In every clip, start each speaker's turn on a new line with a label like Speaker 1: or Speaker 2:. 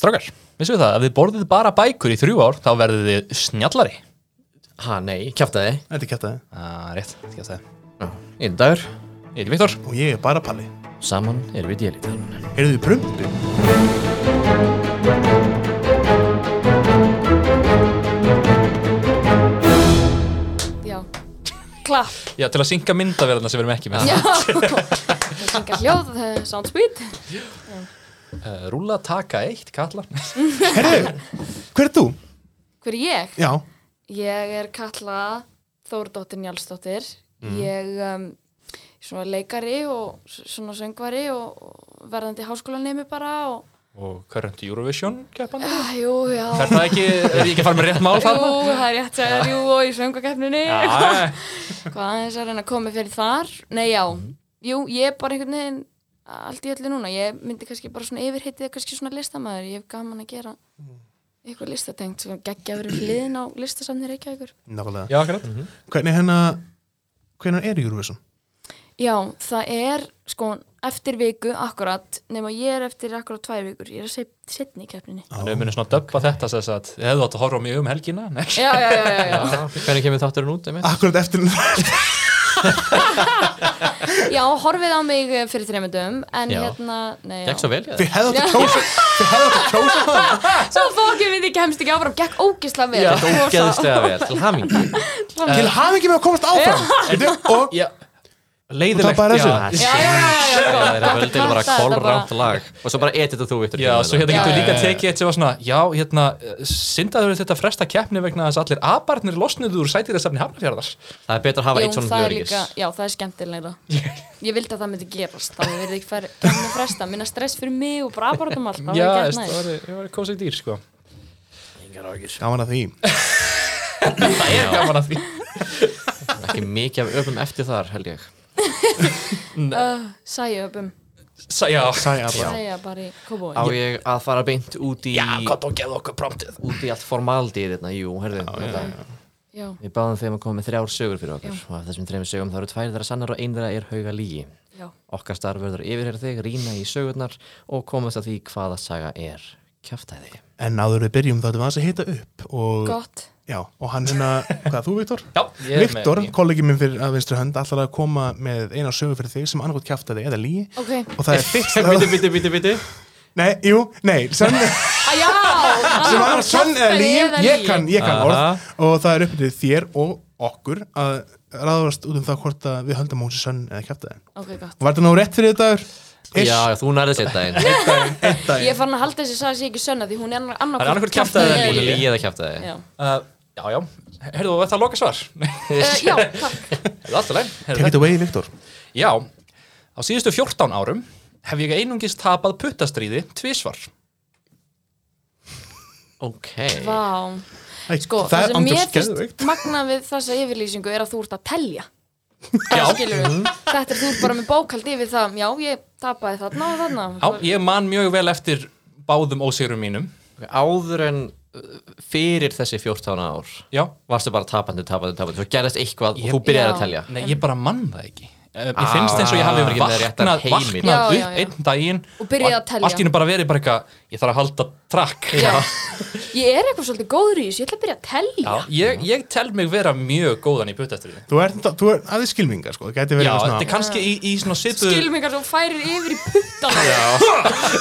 Speaker 1: Strákar, vissum við það, ef þið borðið bara bækur í þrjú ár, þá verðið þið snjallari.
Speaker 2: Ha, nei, kjáftaði.
Speaker 3: Þetta er kættaði.
Speaker 1: Ah, rétt, þetta ekki að segja.
Speaker 2: Einn dagur,
Speaker 1: Ég er Viktor.
Speaker 3: Og ég er bara palli.
Speaker 2: saman erum við djeliðan.
Speaker 3: Heyrðu þið prumpi?
Speaker 4: Já, klapp
Speaker 1: Já, til að synga myndaverðina sem við erum ekki með.
Speaker 4: Já Senga hljóð, eh, sound speed
Speaker 1: Uh, rúla, taka eitt, kalla.
Speaker 3: Heyrðu, hver er þú?
Speaker 4: Hver er ég?
Speaker 3: Já,
Speaker 4: Ég er Katla Þórdóttir Njálsdóttir Ég um, svona leikari og s- svona söngvari og og verðandi háskólanemi bara og
Speaker 1: Og current Eurovision keppan.
Speaker 4: ah, Jú, já
Speaker 1: Er það ekki, er ég ekki að fara með rétt mál
Speaker 4: Jú,
Speaker 1: þarna?
Speaker 4: það er rétt að jú og í söngakeppninni
Speaker 1: Já,
Speaker 4: Hvað aðeins að reyna að koma mér fyrir þar Nei, já,
Speaker 2: Mhm.
Speaker 4: jú, ég er bara einhvern veginn allt í öllu núna, ég myndi kannski bara svona yfirheitið eða kannski svona listamaður, ég hef gaman að gera
Speaker 2: Mm.
Speaker 4: eitthvað listatengt, svona geggjaður um hliðin á listasafni Reykjavíkur
Speaker 3: nákvæmlega.
Speaker 1: já, akkurat.
Speaker 3: Hvernig hennar, hvernig er Eurovision?
Speaker 4: Já, það er sko eftir viku akkurat, nema ég er eftir akkurat tvær vikur, ég er að segja setni í keppninni
Speaker 1: Þannig við munum svona döbba þetta þess að þið hefðu átt að horfa á mig um helgina. Nei,
Speaker 4: Já, já, já, já, já.
Speaker 2: Hvernig kemur þátturinn út, emi?
Speaker 3: Akkurat eftir,
Speaker 4: já horfið á mig eh, fyrir þreymundum en
Speaker 2: Já.
Speaker 4: hérna, nei, já
Speaker 2: Gekk svo vel, já.
Speaker 3: þið hefðu átt að kjósa, þið hefðu átt að kjósa það.
Speaker 4: Svo fókjum við því kemst ekki áfram, gekk ógislega vel
Speaker 2: Þetta er ógeðslega vel, til hamingi.
Speaker 3: Til hafingi með að komast áfram. Veitu, Og
Speaker 1: já.
Speaker 3: Og það
Speaker 2: Leiðilegt,
Speaker 3: bara þessu.
Speaker 2: já.
Speaker 4: Já, já, já, já, já,
Speaker 2: Það er að völdin bara
Speaker 4: Þetta er
Speaker 2: kolrámt lag. Og svo bara edita þú, Viktor.
Speaker 1: Já, svo hérna
Speaker 4: Já,
Speaker 1: getur
Speaker 4: já,
Speaker 1: við líka
Speaker 2: já,
Speaker 1: tekið eitt sem var svona, já, hérna, syndaður þetta fresta keppni vegna þess að allir abarnir losnuðu úr sætirðasafni Hafnarfjörðars.
Speaker 2: Það er betra að
Speaker 4: Jú,
Speaker 2: hafa eitt svona
Speaker 4: það er
Speaker 2: hljörgis.
Speaker 4: líka, já, það er skemmtilega Ég vildi að það myndi gerast þá verði ekki fer, kemna fresta, minna stress fyrir mig og bara bara um allt það
Speaker 1: Já,
Speaker 4: var
Speaker 1: veist,
Speaker 4: ekki
Speaker 1: það
Speaker 4: næst
Speaker 1: var, það var kósið dýr, sko.
Speaker 3: Gaman að því.
Speaker 1: Það er gaman að því.
Speaker 2: Ekki mikið af öfum eftir þar, held ég.
Speaker 4: Sæja upp um,
Speaker 1: Sa, já,
Speaker 3: Sæ Abba.
Speaker 4: sæja bara í kóbói
Speaker 2: Á ég að fara beint út í,
Speaker 1: og geða okkur promptið.
Speaker 2: út í allt formaldið þarna, jú, herðu. þetta-
Speaker 4: Já,
Speaker 2: Við báðum þeim að koma með þrjár sögur fyrir okkur og af þessum þrejum sögum þá eru tvær þeirra sannar og ein þeirra er hauga lígi.
Speaker 4: já,
Speaker 2: Okkar starf verður yfirherð þig, rýna í sögurnar og komast að því hvaða saga er kjáftæði.
Speaker 3: En áður við byrjum þá ætlum við aðeins að hita upp og,
Speaker 4: gott
Speaker 3: já, og hann hérna, hvað þú Viktor?
Speaker 1: Já, ég er
Speaker 3: Viktor,
Speaker 1: með- ég-
Speaker 3: kollegi minn fyrir að vinstri hönd, ætlar að koma með eina sögu fyrir þig sem annarkot kjaftaði eða lígi
Speaker 4: Ok,
Speaker 3: og það er
Speaker 2: Bitti,
Speaker 3: fyrst,
Speaker 2: bitti, bitti, bitti.
Speaker 3: nei, jú, nei, sem,
Speaker 4: aðjá Ah,
Speaker 3: sem annarkot sönn eða lígi, ég kann, ég kann
Speaker 2: Aha.
Speaker 3: orð og það er uppið til þér og okkur að ráðast út um það hvort að við höldum hún sem sönn eða kjaftaði.
Speaker 4: Ok, gott
Speaker 3: Og var þetta ná rétt fyrir þetta?
Speaker 2: Já, þú nærðið sér daginn.
Speaker 4: Ég er farin að halda þessi saga sé ekki sönna því hún er
Speaker 1: Það
Speaker 4: annarkvæmt
Speaker 1: er annarkvort kjaftaði
Speaker 2: Hún
Speaker 1: eða
Speaker 2: er
Speaker 1: lygi.
Speaker 2: lígi eða kjáftæði.
Speaker 4: Já,
Speaker 1: Uh, já, já, heyrðu þú, það loka svar.
Speaker 4: Eh, já, takk
Speaker 1: Heyrðu, allt í lagi. Heyrðu,
Speaker 3: Take it away, Viktor.
Speaker 1: Já, á síðustu 14 árum hef ég einungis tapað puttastríði tvísvar.
Speaker 2: Ok.
Speaker 4: Vá Sko, það,
Speaker 3: það er
Speaker 4: sem mér
Speaker 3: andjóks
Speaker 4: finnst
Speaker 3: geðveikt.
Speaker 4: magna við þessa yfirlýsingu er að þú ert að telja
Speaker 1: Já,
Speaker 4: skilur þetta er þú ert bara með bókald yfir það já, ég tapaði þarna og þarna
Speaker 1: já, ég man mjög vel eftir báðum ósýrum mínum.
Speaker 2: Áður en uh, fyrir þessi 14 ár
Speaker 1: Já,
Speaker 2: varstu bara tapandi, tapandi, tapandi. Svo gerðist eitthvað
Speaker 1: Ég-
Speaker 2: og þú byrjar að
Speaker 4: Já.
Speaker 2: telja.
Speaker 1: nei, ég bara man það ekki. Ég finnst eins og ég hafi
Speaker 2: Ah, ekki með réttar
Speaker 1: vaknað,
Speaker 2: heimild.
Speaker 1: vaknað upp
Speaker 4: Já, já, já.
Speaker 1: einn daginn
Speaker 4: Og byrjað að telja.
Speaker 1: Allt í hennu bara verið bara eitthvað, ég þarf að halda trakk.
Speaker 4: já. ég er eitthvað svolítið góður í þessu ég ætla að byrja að telja
Speaker 1: Ég, ég tel mig vera mjög góðan í puttastríði.
Speaker 3: Þú ert þú ert aðeins skilmingar, sko, það gæti
Speaker 1: Já,
Speaker 3: verið eitthvað
Speaker 1: þetta er kannski í, í svona svipuðu...
Speaker 4: skilmingar svo færir yfir í puttana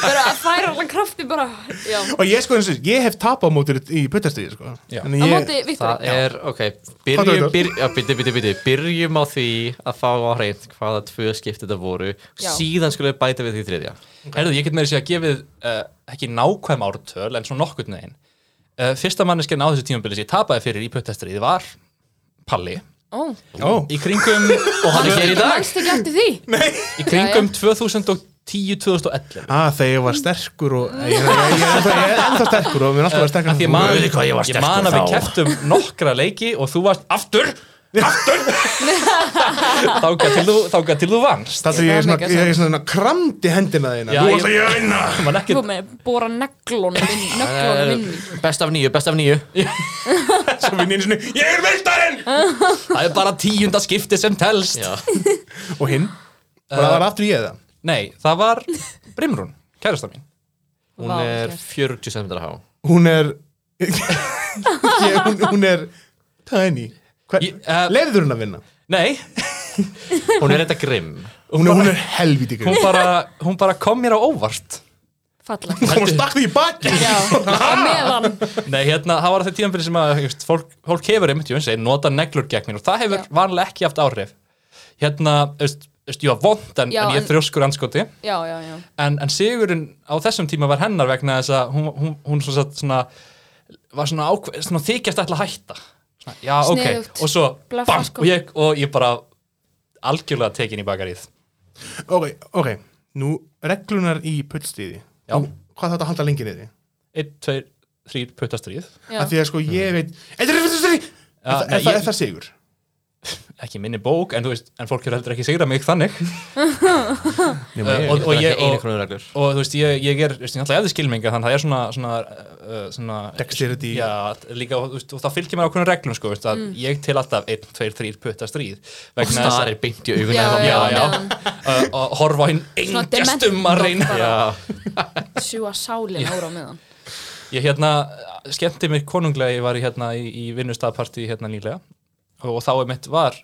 Speaker 4: bara að færa allan krafti bara já
Speaker 3: Og ég sko eins og ég hef tapað á mótir í puttastíði sko.
Speaker 1: Já.
Speaker 3: Þannig
Speaker 4: á
Speaker 3: ég-
Speaker 4: móti
Speaker 2: Það
Speaker 4: Viktor
Speaker 2: er, ok,
Speaker 3: Hvað er
Speaker 2: byrjum,
Speaker 3: þetta?
Speaker 2: byrjum, já, byrjum, byrjum, byrjum, byrjum á því að fá á hreint hvaða tvö skipti þetta voru,
Speaker 4: Já.
Speaker 2: síðan skulle við bæta við því þriðja.
Speaker 1: Herðu, ég get með þess að segja gefið uh, ekki nákvæm ártöl, en svona nokkurn veginn. Uh, fyrsta manneskjarn á þessu tímabili sem ég tapaði fyrir í puttastriði var Palli.
Speaker 4: ó,
Speaker 3: Ó,
Speaker 1: Í kringum,
Speaker 2: Og hann er hér í dag.
Speaker 4: mannst ekki eftir því
Speaker 1: í kringum 2010-2011.
Speaker 3: að Ah, þegar ég var sterkur og ég, ég, ég, ég, ég, ég er ennþá sterkur og mér er alltaf að sterkur
Speaker 1: Því ég man, ég man að við keftum nokkra leiki og þú varst aftur, aftur, þáka til þú, þáka til þú vannst.
Speaker 3: Það er
Speaker 4: Það
Speaker 3: ég,
Speaker 4: er
Speaker 3: svona,
Speaker 4: mega
Speaker 3: ég, ég svona kramdi hendina þína
Speaker 1: Já,
Speaker 3: Þú
Speaker 1: ég-
Speaker 3: varst að ég að vinna
Speaker 1: Það var
Speaker 4: þú
Speaker 1: ekkert,
Speaker 4: með bóra neglónum inn neglónum inn í.
Speaker 2: Best af nýju, best af nýju.
Speaker 3: Svo vinn ég einu sinni, ég er meistarinn
Speaker 1: það er bara tíunda skipti sem telst.
Speaker 2: Já.
Speaker 1: Uh,
Speaker 3: Og hinn, og það var aftur ég það
Speaker 1: Nei, það var Brimrún, kærasta mín.
Speaker 2: Hún
Speaker 4: Vá, vel
Speaker 2: er
Speaker 4: gert.
Speaker 2: 40 cm há
Speaker 3: hún er ég, hún, hún er tiny Hver,
Speaker 1: Ég- eh,
Speaker 3: leiður hún að vinna
Speaker 1: Nei,
Speaker 2: Hún er þetta grimm
Speaker 3: hún er, hún er helvíti
Speaker 1: hún
Speaker 3: grimm
Speaker 1: bara, hún bara kom mér á óvart
Speaker 4: falla
Speaker 3: hún kom og stakk því í baki
Speaker 4: já, á meðan
Speaker 1: Nei, hérna, það var það tíðanbyrði sem að just, fólk, fólk hefur einmitt, ég veist, nota neglur gegn mér og það hefur
Speaker 4: Já.
Speaker 1: vanlega ekki haft áhrif Hérna, veist, veist, ég var vond en,
Speaker 4: Já,
Speaker 1: en ég
Speaker 4: en-
Speaker 1: er þrjóskur anskoti
Speaker 4: já, já, já,
Speaker 1: en, en Sigurinn á þessum tíma var hennar vegna þess að hún, hún, hún svona, sagt svona var svona, ákveð, svona þykjast ætla að hætta svona, já ok,
Speaker 4: Sniðugt.
Speaker 1: og svo
Speaker 4: Bleffa,
Speaker 1: bam,
Speaker 4: sko.
Speaker 1: og, ég, og ég bara algjörlega tekin í bakaríð
Speaker 3: ok, ok, nú reglunar í pullstíði
Speaker 1: Já.
Speaker 3: Nú, hvað þarf þetta að halda lengi niður
Speaker 1: 1, 2, 3 puttastríð
Speaker 4: já.
Speaker 3: af því að sko ég veit er það- er það- er það-
Speaker 1: nei,
Speaker 3: er það-
Speaker 1: ég- Uh,
Speaker 3: er það sigur?
Speaker 1: ekki í minni bók, en þú veist, en fólk hefur heldur ekki sigrað mig þannig
Speaker 3: Nema
Speaker 1: Eh,
Speaker 3: ég.
Speaker 1: og-
Speaker 2: Þetta er
Speaker 1: ég-
Speaker 2: ekki einu krónu reglur
Speaker 1: og þú veist, ég, ég er, þú veist, ég náttúrulega eftir skilminga þannig að það er svona, svona, uh, svona
Speaker 3: Dexterity.
Speaker 1: já, líka, og, þú veist, og það fylgir mér ákveðnum reglum, sko, þú veist, að ég til alltaf 1, 2, 3 puttastríð
Speaker 2: Og starir beint í augun
Speaker 4: Já,
Speaker 2: á
Speaker 1: já,
Speaker 2: mér.
Speaker 1: já, Uh, og horfa á hinn
Speaker 4: Svona
Speaker 1: engja
Speaker 4: dement
Speaker 1: stummarinn
Speaker 4: bara.
Speaker 2: Já.
Speaker 4: sjúa sálin ára á meðan
Speaker 1: ég hérna uh, skemmti mér konunglega ég var í, hérna, í, í vinnustafparti hérna nýlega og, og þá er mitt var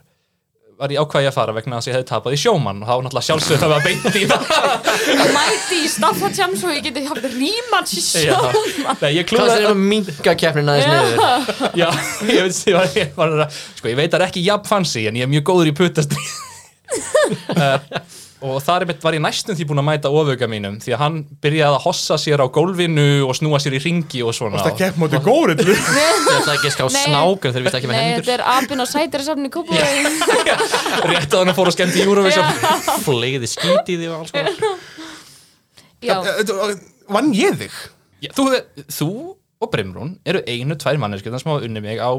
Speaker 1: var ég ákvæði að fara vegna þess að ég hefði tapað í sjómann og þá var náttúrulega sjálfsögð það var beint í það
Speaker 4: mæti í Staffordsham svo ég geti haft rímans í
Speaker 1: Já.
Speaker 4: sjálf
Speaker 1: Nei, ég
Speaker 2: Hvað
Speaker 1: klúðaði
Speaker 2: er að minka keppnina aðeins niður?
Speaker 1: Já, ég veit, ég var, ég var, sko, ég veit það er ekki jafn fancy en ég er mjög góður í puttast og þar einmitt var ég næstum því búin að mæta ofuga mínum því að hann byrjaði að hossa sér á gólfinu og snúa sér í ringi og svona
Speaker 3: það kepp móti góriðlu
Speaker 2: Ég ætla ekki að ská
Speaker 4: Nei.
Speaker 2: snákum þegar við ekki með
Speaker 4: nei,
Speaker 2: hendur
Speaker 4: þetta er apinn á sætirasafni kópaði
Speaker 1: rétt að hann fór að skemmti Eurovision
Speaker 2: Fleiði skít í því og alls konar
Speaker 4: já,
Speaker 3: vann ég þig?
Speaker 1: Já, þú, þú og Brimrún eru einu tvær manneskjöndar sem hafa unni mig á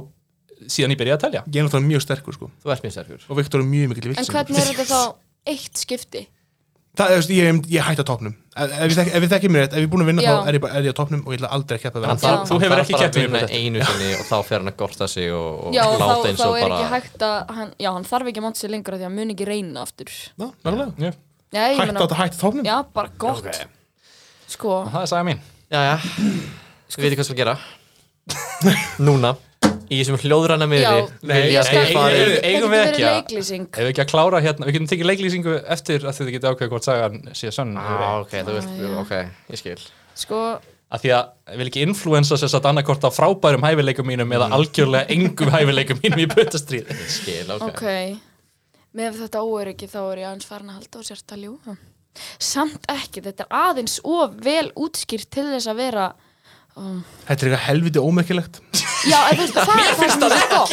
Speaker 1: síðan ég byrjaði að telja
Speaker 3: ég er náttúrulega mjög sterkur sko
Speaker 2: Þú ert mjög sterkur
Speaker 3: og Viktor er mjög mikill
Speaker 4: en
Speaker 3: vilsingur
Speaker 4: hvernig er þetta þá eitt skipti
Speaker 3: Það, þú veist, ég, ég hætti á topnum ef, ef ég þekki- ef ég þekki mér rétt, ef ég er búin að vinna
Speaker 4: Já.
Speaker 3: þá er ég, bara- er ég á topnum og ég ætla aldrei að keppa við
Speaker 2: Hann
Speaker 3: hann
Speaker 4: þarf-
Speaker 2: þarf-
Speaker 1: þú
Speaker 2: hann
Speaker 1: hefur
Speaker 2: þarf
Speaker 1: ekki
Speaker 2: bara að
Speaker 1: keppt við
Speaker 2: vinna
Speaker 1: þetta.
Speaker 2: einu sinni og þá fer hann að gorta sig og, og
Speaker 4: um já, og
Speaker 2: láta
Speaker 4: þá,
Speaker 2: eins
Speaker 4: þá
Speaker 2: og
Speaker 4: er
Speaker 2: bara
Speaker 4: ekki hægt að hann, já, hann þarf ekki að monta sér lengur af því að hann mun ekki reyna aftur já,
Speaker 3: Ná, nákvæmlega.
Speaker 1: Já,
Speaker 3: hætti
Speaker 4: ég
Speaker 3: á
Speaker 4: meina,
Speaker 3: þetta hætti á topnum
Speaker 4: já, bara gott sko,
Speaker 1: það er saga mín
Speaker 2: Já, já, við veitum hvað sem að gera Núna Í þessum hljóðræna miðri
Speaker 4: já,
Speaker 1: Nei,
Speaker 4: ég skal
Speaker 1: nei,
Speaker 4: þetta
Speaker 1: eigum- eigum
Speaker 4: getur
Speaker 1: við
Speaker 4: verið
Speaker 1: ekki að-
Speaker 4: leiklýsing
Speaker 1: Ef við ekki að klára hérna, við getum tekið leiklýsingu eftir að þið getið ákveðið hvort sagan sé sönn eða
Speaker 2: ah,
Speaker 1: ei.
Speaker 2: Ok, þú veist,
Speaker 4: Ah, já.
Speaker 2: ok, ég skil
Speaker 4: sko,
Speaker 1: Af því að ég vil ekki influensa sér satt annarkort á frábærum hæfileikum mínum eða algjörlega engum hæfileikum mínum í puttastríð
Speaker 2: Ég skil, ok,
Speaker 4: ok með þetta óöryggi þá er ég aðeins farin að halda og sért að ljúga samt ekki, þetta er aðeins of vel útskýrt til þess að vera
Speaker 3: Þetta er eitthvað helviti ómerkilegt
Speaker 4: já, en þú veist, það er það sem er gott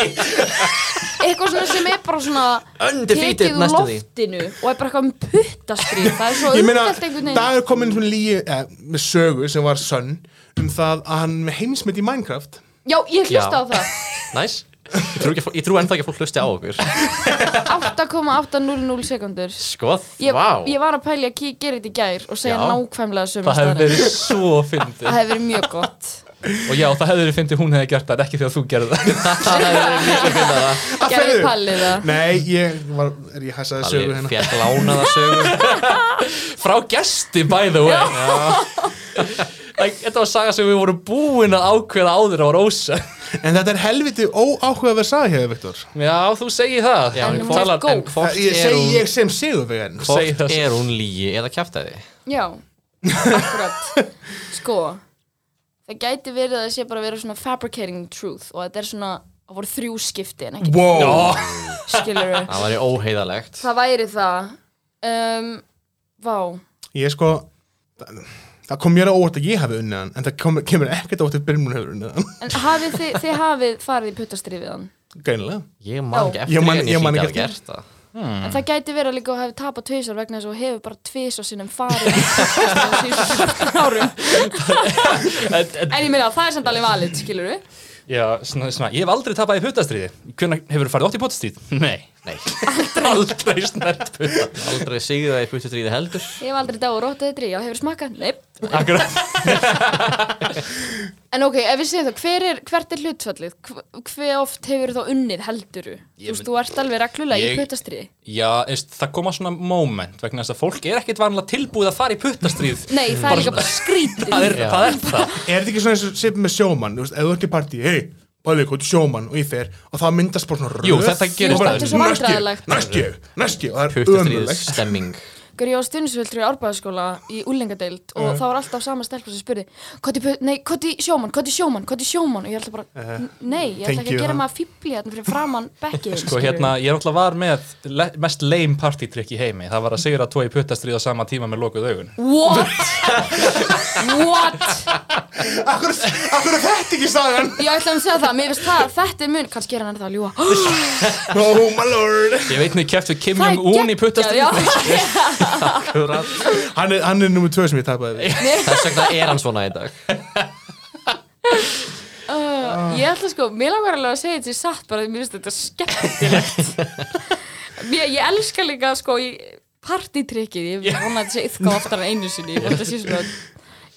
Speaker 4: eitthvað svona sem er bara svona
Speaker 2: Undefeated,
Speaker 4: tekið úr
Speaker 2: næstum því.
Speaker 4: loftinu og er bara eitthvað um puttastrýð það er svo
Speaker 3: Ég meina,
Speaker 4: umdelt einhvern veginn
Speaker 3: dagur kom inn svona líi eh, með sögu sem var sönn um það að hann með heimsmynd í Minecraft
Speaker 4: já, ég hlusta á
Speaker 2: Já.
Speaker 4: það
Speaker 2: næs Ég trú, ekki, að fó- ég trú ennþá ekki að fólk hlusti á okkur
Speaker 4: 8,800 sekundur
Speaker 2: Sko,
Speaker 4: ég,
Speaker 2: vá
Speaker 4: ég var að pælja að kí- gera þetta í gær og segja
Speaker 2: Já.
Speaker 4: nákvæmlega sömu
Speaker 1: Það hefði
Speaker 4: staðar
Speaker 1: verið svo fyndið
Speaker 4: það hefði verið mjög gott
Speaker 1: Og já, það hefði verið fyndið hún hefði gert það en ekki þegar þú gerði það
Speaker 2: Það hefði verið miklu að finna það
Speaker 4: gerði
Speaker 3: ferðu?
Speaker 4: pallið það
Speaker 3: Nei, ég var, er ég hæsaði sögu
Speaker 2: Alveg
Speaker 3: hérna
Speaker 2: fjall lánaða sögu
Speaker 1: Frá gesti, by the way Like, Þetta var saga sem við vorum búin að ákveða áður á Rósa
Speaker 3: En þetta er helviti óáhuga við sagði hér, Viktor Eh,
Speaker 1: Já, þú segir það
Speaker 2: Já,
Speaker 4: En
Speaker 2: en
Speaker 4: hún
Speaker 2: hvort-
Speaker 4: er góð.
Speaker 2: en hvort
Speaker 3: Ég
Speaker 2: er
Speaker 3: segi
Speaker 2: hún
Speaker 3: ég sem sigur við henn
Speaker 1: Segi
Speaker 2: Hvort
Speaker 1: það.
Speaker 2: er hún lígi eða kjaftaði?
Speaker 4: já, akkurat sko það gæti verið að það sé bara að vera svona fabricating truth og þetta er svona það voru þrjú skipti en ekki
Speaker 3: Wow,
Speaker 1: Ó,
Speaker 4: skilur
Speaker 2: Það væri óheiðalegt
Speaker 4: það væri það um, vá
Speaker 3: ég sko það- Það kom mér á óvart að ég hafi unnið hann En það kom, kemur ekkert á óvart að Brimrún hefur unnið hann
Speaker 4: en hafið þið, þið hafið farið í puttastrið við hann
Speaker 3: Greinilega
Speaker 2: Ég man ekki
Speaker 4: Já.
Speaker 2: eftir
Speaker 3: Ég man-
Speaker 2: en
Speaker 3: ég man
Speaker 2: hlýt að
Speaker 3: ekki
Speaker 2: hafa gert það
Speaker 4: en það gæti verið að líka að hafi tapað tvisar vegna þess að þú hefur bara tvisar sinnum farið í puttastrið á síðustu 14 árum
Speaker 1: en, en,
Speaker 4: en ég meina það er samt alveg valið skilur
Speaker 1: já, svona, svona, ég hef aldrei tapað í puttastríði Hvernig hefur þú farið ótt í puttastríð? Nei,
Speaker 2: Nei,
Speaker 1: aldrei snert putta
Speaker 2: aldrei sigðu það í puttutríði heldur
Speaker 4: ég hef aldrei dáið róttið þetta já hefur smakkað, neip
Speaker 1: Akkurat
Speaker 4: En ok, ef við segjum það, hver er, hvert er hlutfallið? Hv- Hve oft hefur þá unnið helduru? Þú veist,
Speaker 1: mynd-
Speaker 4: þú ert alveg reglulega
Speaker 1: Ég-
Speaker 4: í kutastriði.
Speaker 1: Já, eist, það koma svona moment vegna þess að fólk er ekkit vanlega tilbúið að fara í puttastríð
Speaker 4: Nei, það er líka bara skrítið.
Speaker 1: það er,
Speaker 2: Já.
Speaker 1: það er það
Speaker 3: Er þetta ekki svona eins og sér með sjómann, þú veist, ef þú ert í partí, hei, bæðið, hvað er sjómann og ég fer og það myndast bara svona röð
Speaker 1: Jú, þetta gerist
Speaker 3: og bara,
Speaker 1: aðeins.
Speaker 4: Þetta er svo
Speaker 3: "Næsti,
Speaker 4: vandræðalegt."
Speaker 3: Næsti, næsti, og það er
Speaker 2: puttastríðs
Speaker 3: ömulegt
Speaker 2: stemming
Speaker 4: Gaur, ég var stundisvöldri í árbæðaskóla í úlingadeild og það var alltaf sama stelpa sem spurði Koti, nei, koti sjómann, koti sjómann, koti sjómann og ég ætla bara, "N- nei, ég
Speaker 3: Thank
Speaker 4: ætla ekki
Speaker 3: you,
Speaker 4: að gera
Speaker 3: huh?"
Speaker 4: maður fíbli hérna fyrir framann bekkið
Speaker 1: Sko hérna, ég náttúrulega var með le mest lame partytrykk í heimi Það var að sigra tvo í puttastríð á sama tíma með lokuð augun
Speaker 4: What? What?
Speaker 3: Akkur, akkur er þetta ekki sagan?
Speaker 4: Ég ætla að segja það, mér finnst það, þetta er mun, kannski er hann ennþá að ljúa
Speaker 3: Oh my lord
Speaker 1: Ég veit niður keft við Kim
Speaker 4: Það er
Speaker 1: Jong-un í
Speaker 4: geggjað,
Speaker 1: puttastríð
Speaker 4: já.
Speaker 3: Hann er, hann er nummer tvö sem ég tapaði við.
Speaker 2: þess vegna er hann svona í dag
Speaker 4: Uh, Ég ætla sko, mér langar alveg að segja þetta í satt bara, því mér finnst þetta skemmtilegt mér, Ég elska líka sko í partytrykkið, ég vona að þetta sé yfka oftar en einu sinni, ég vona að þetta sé svona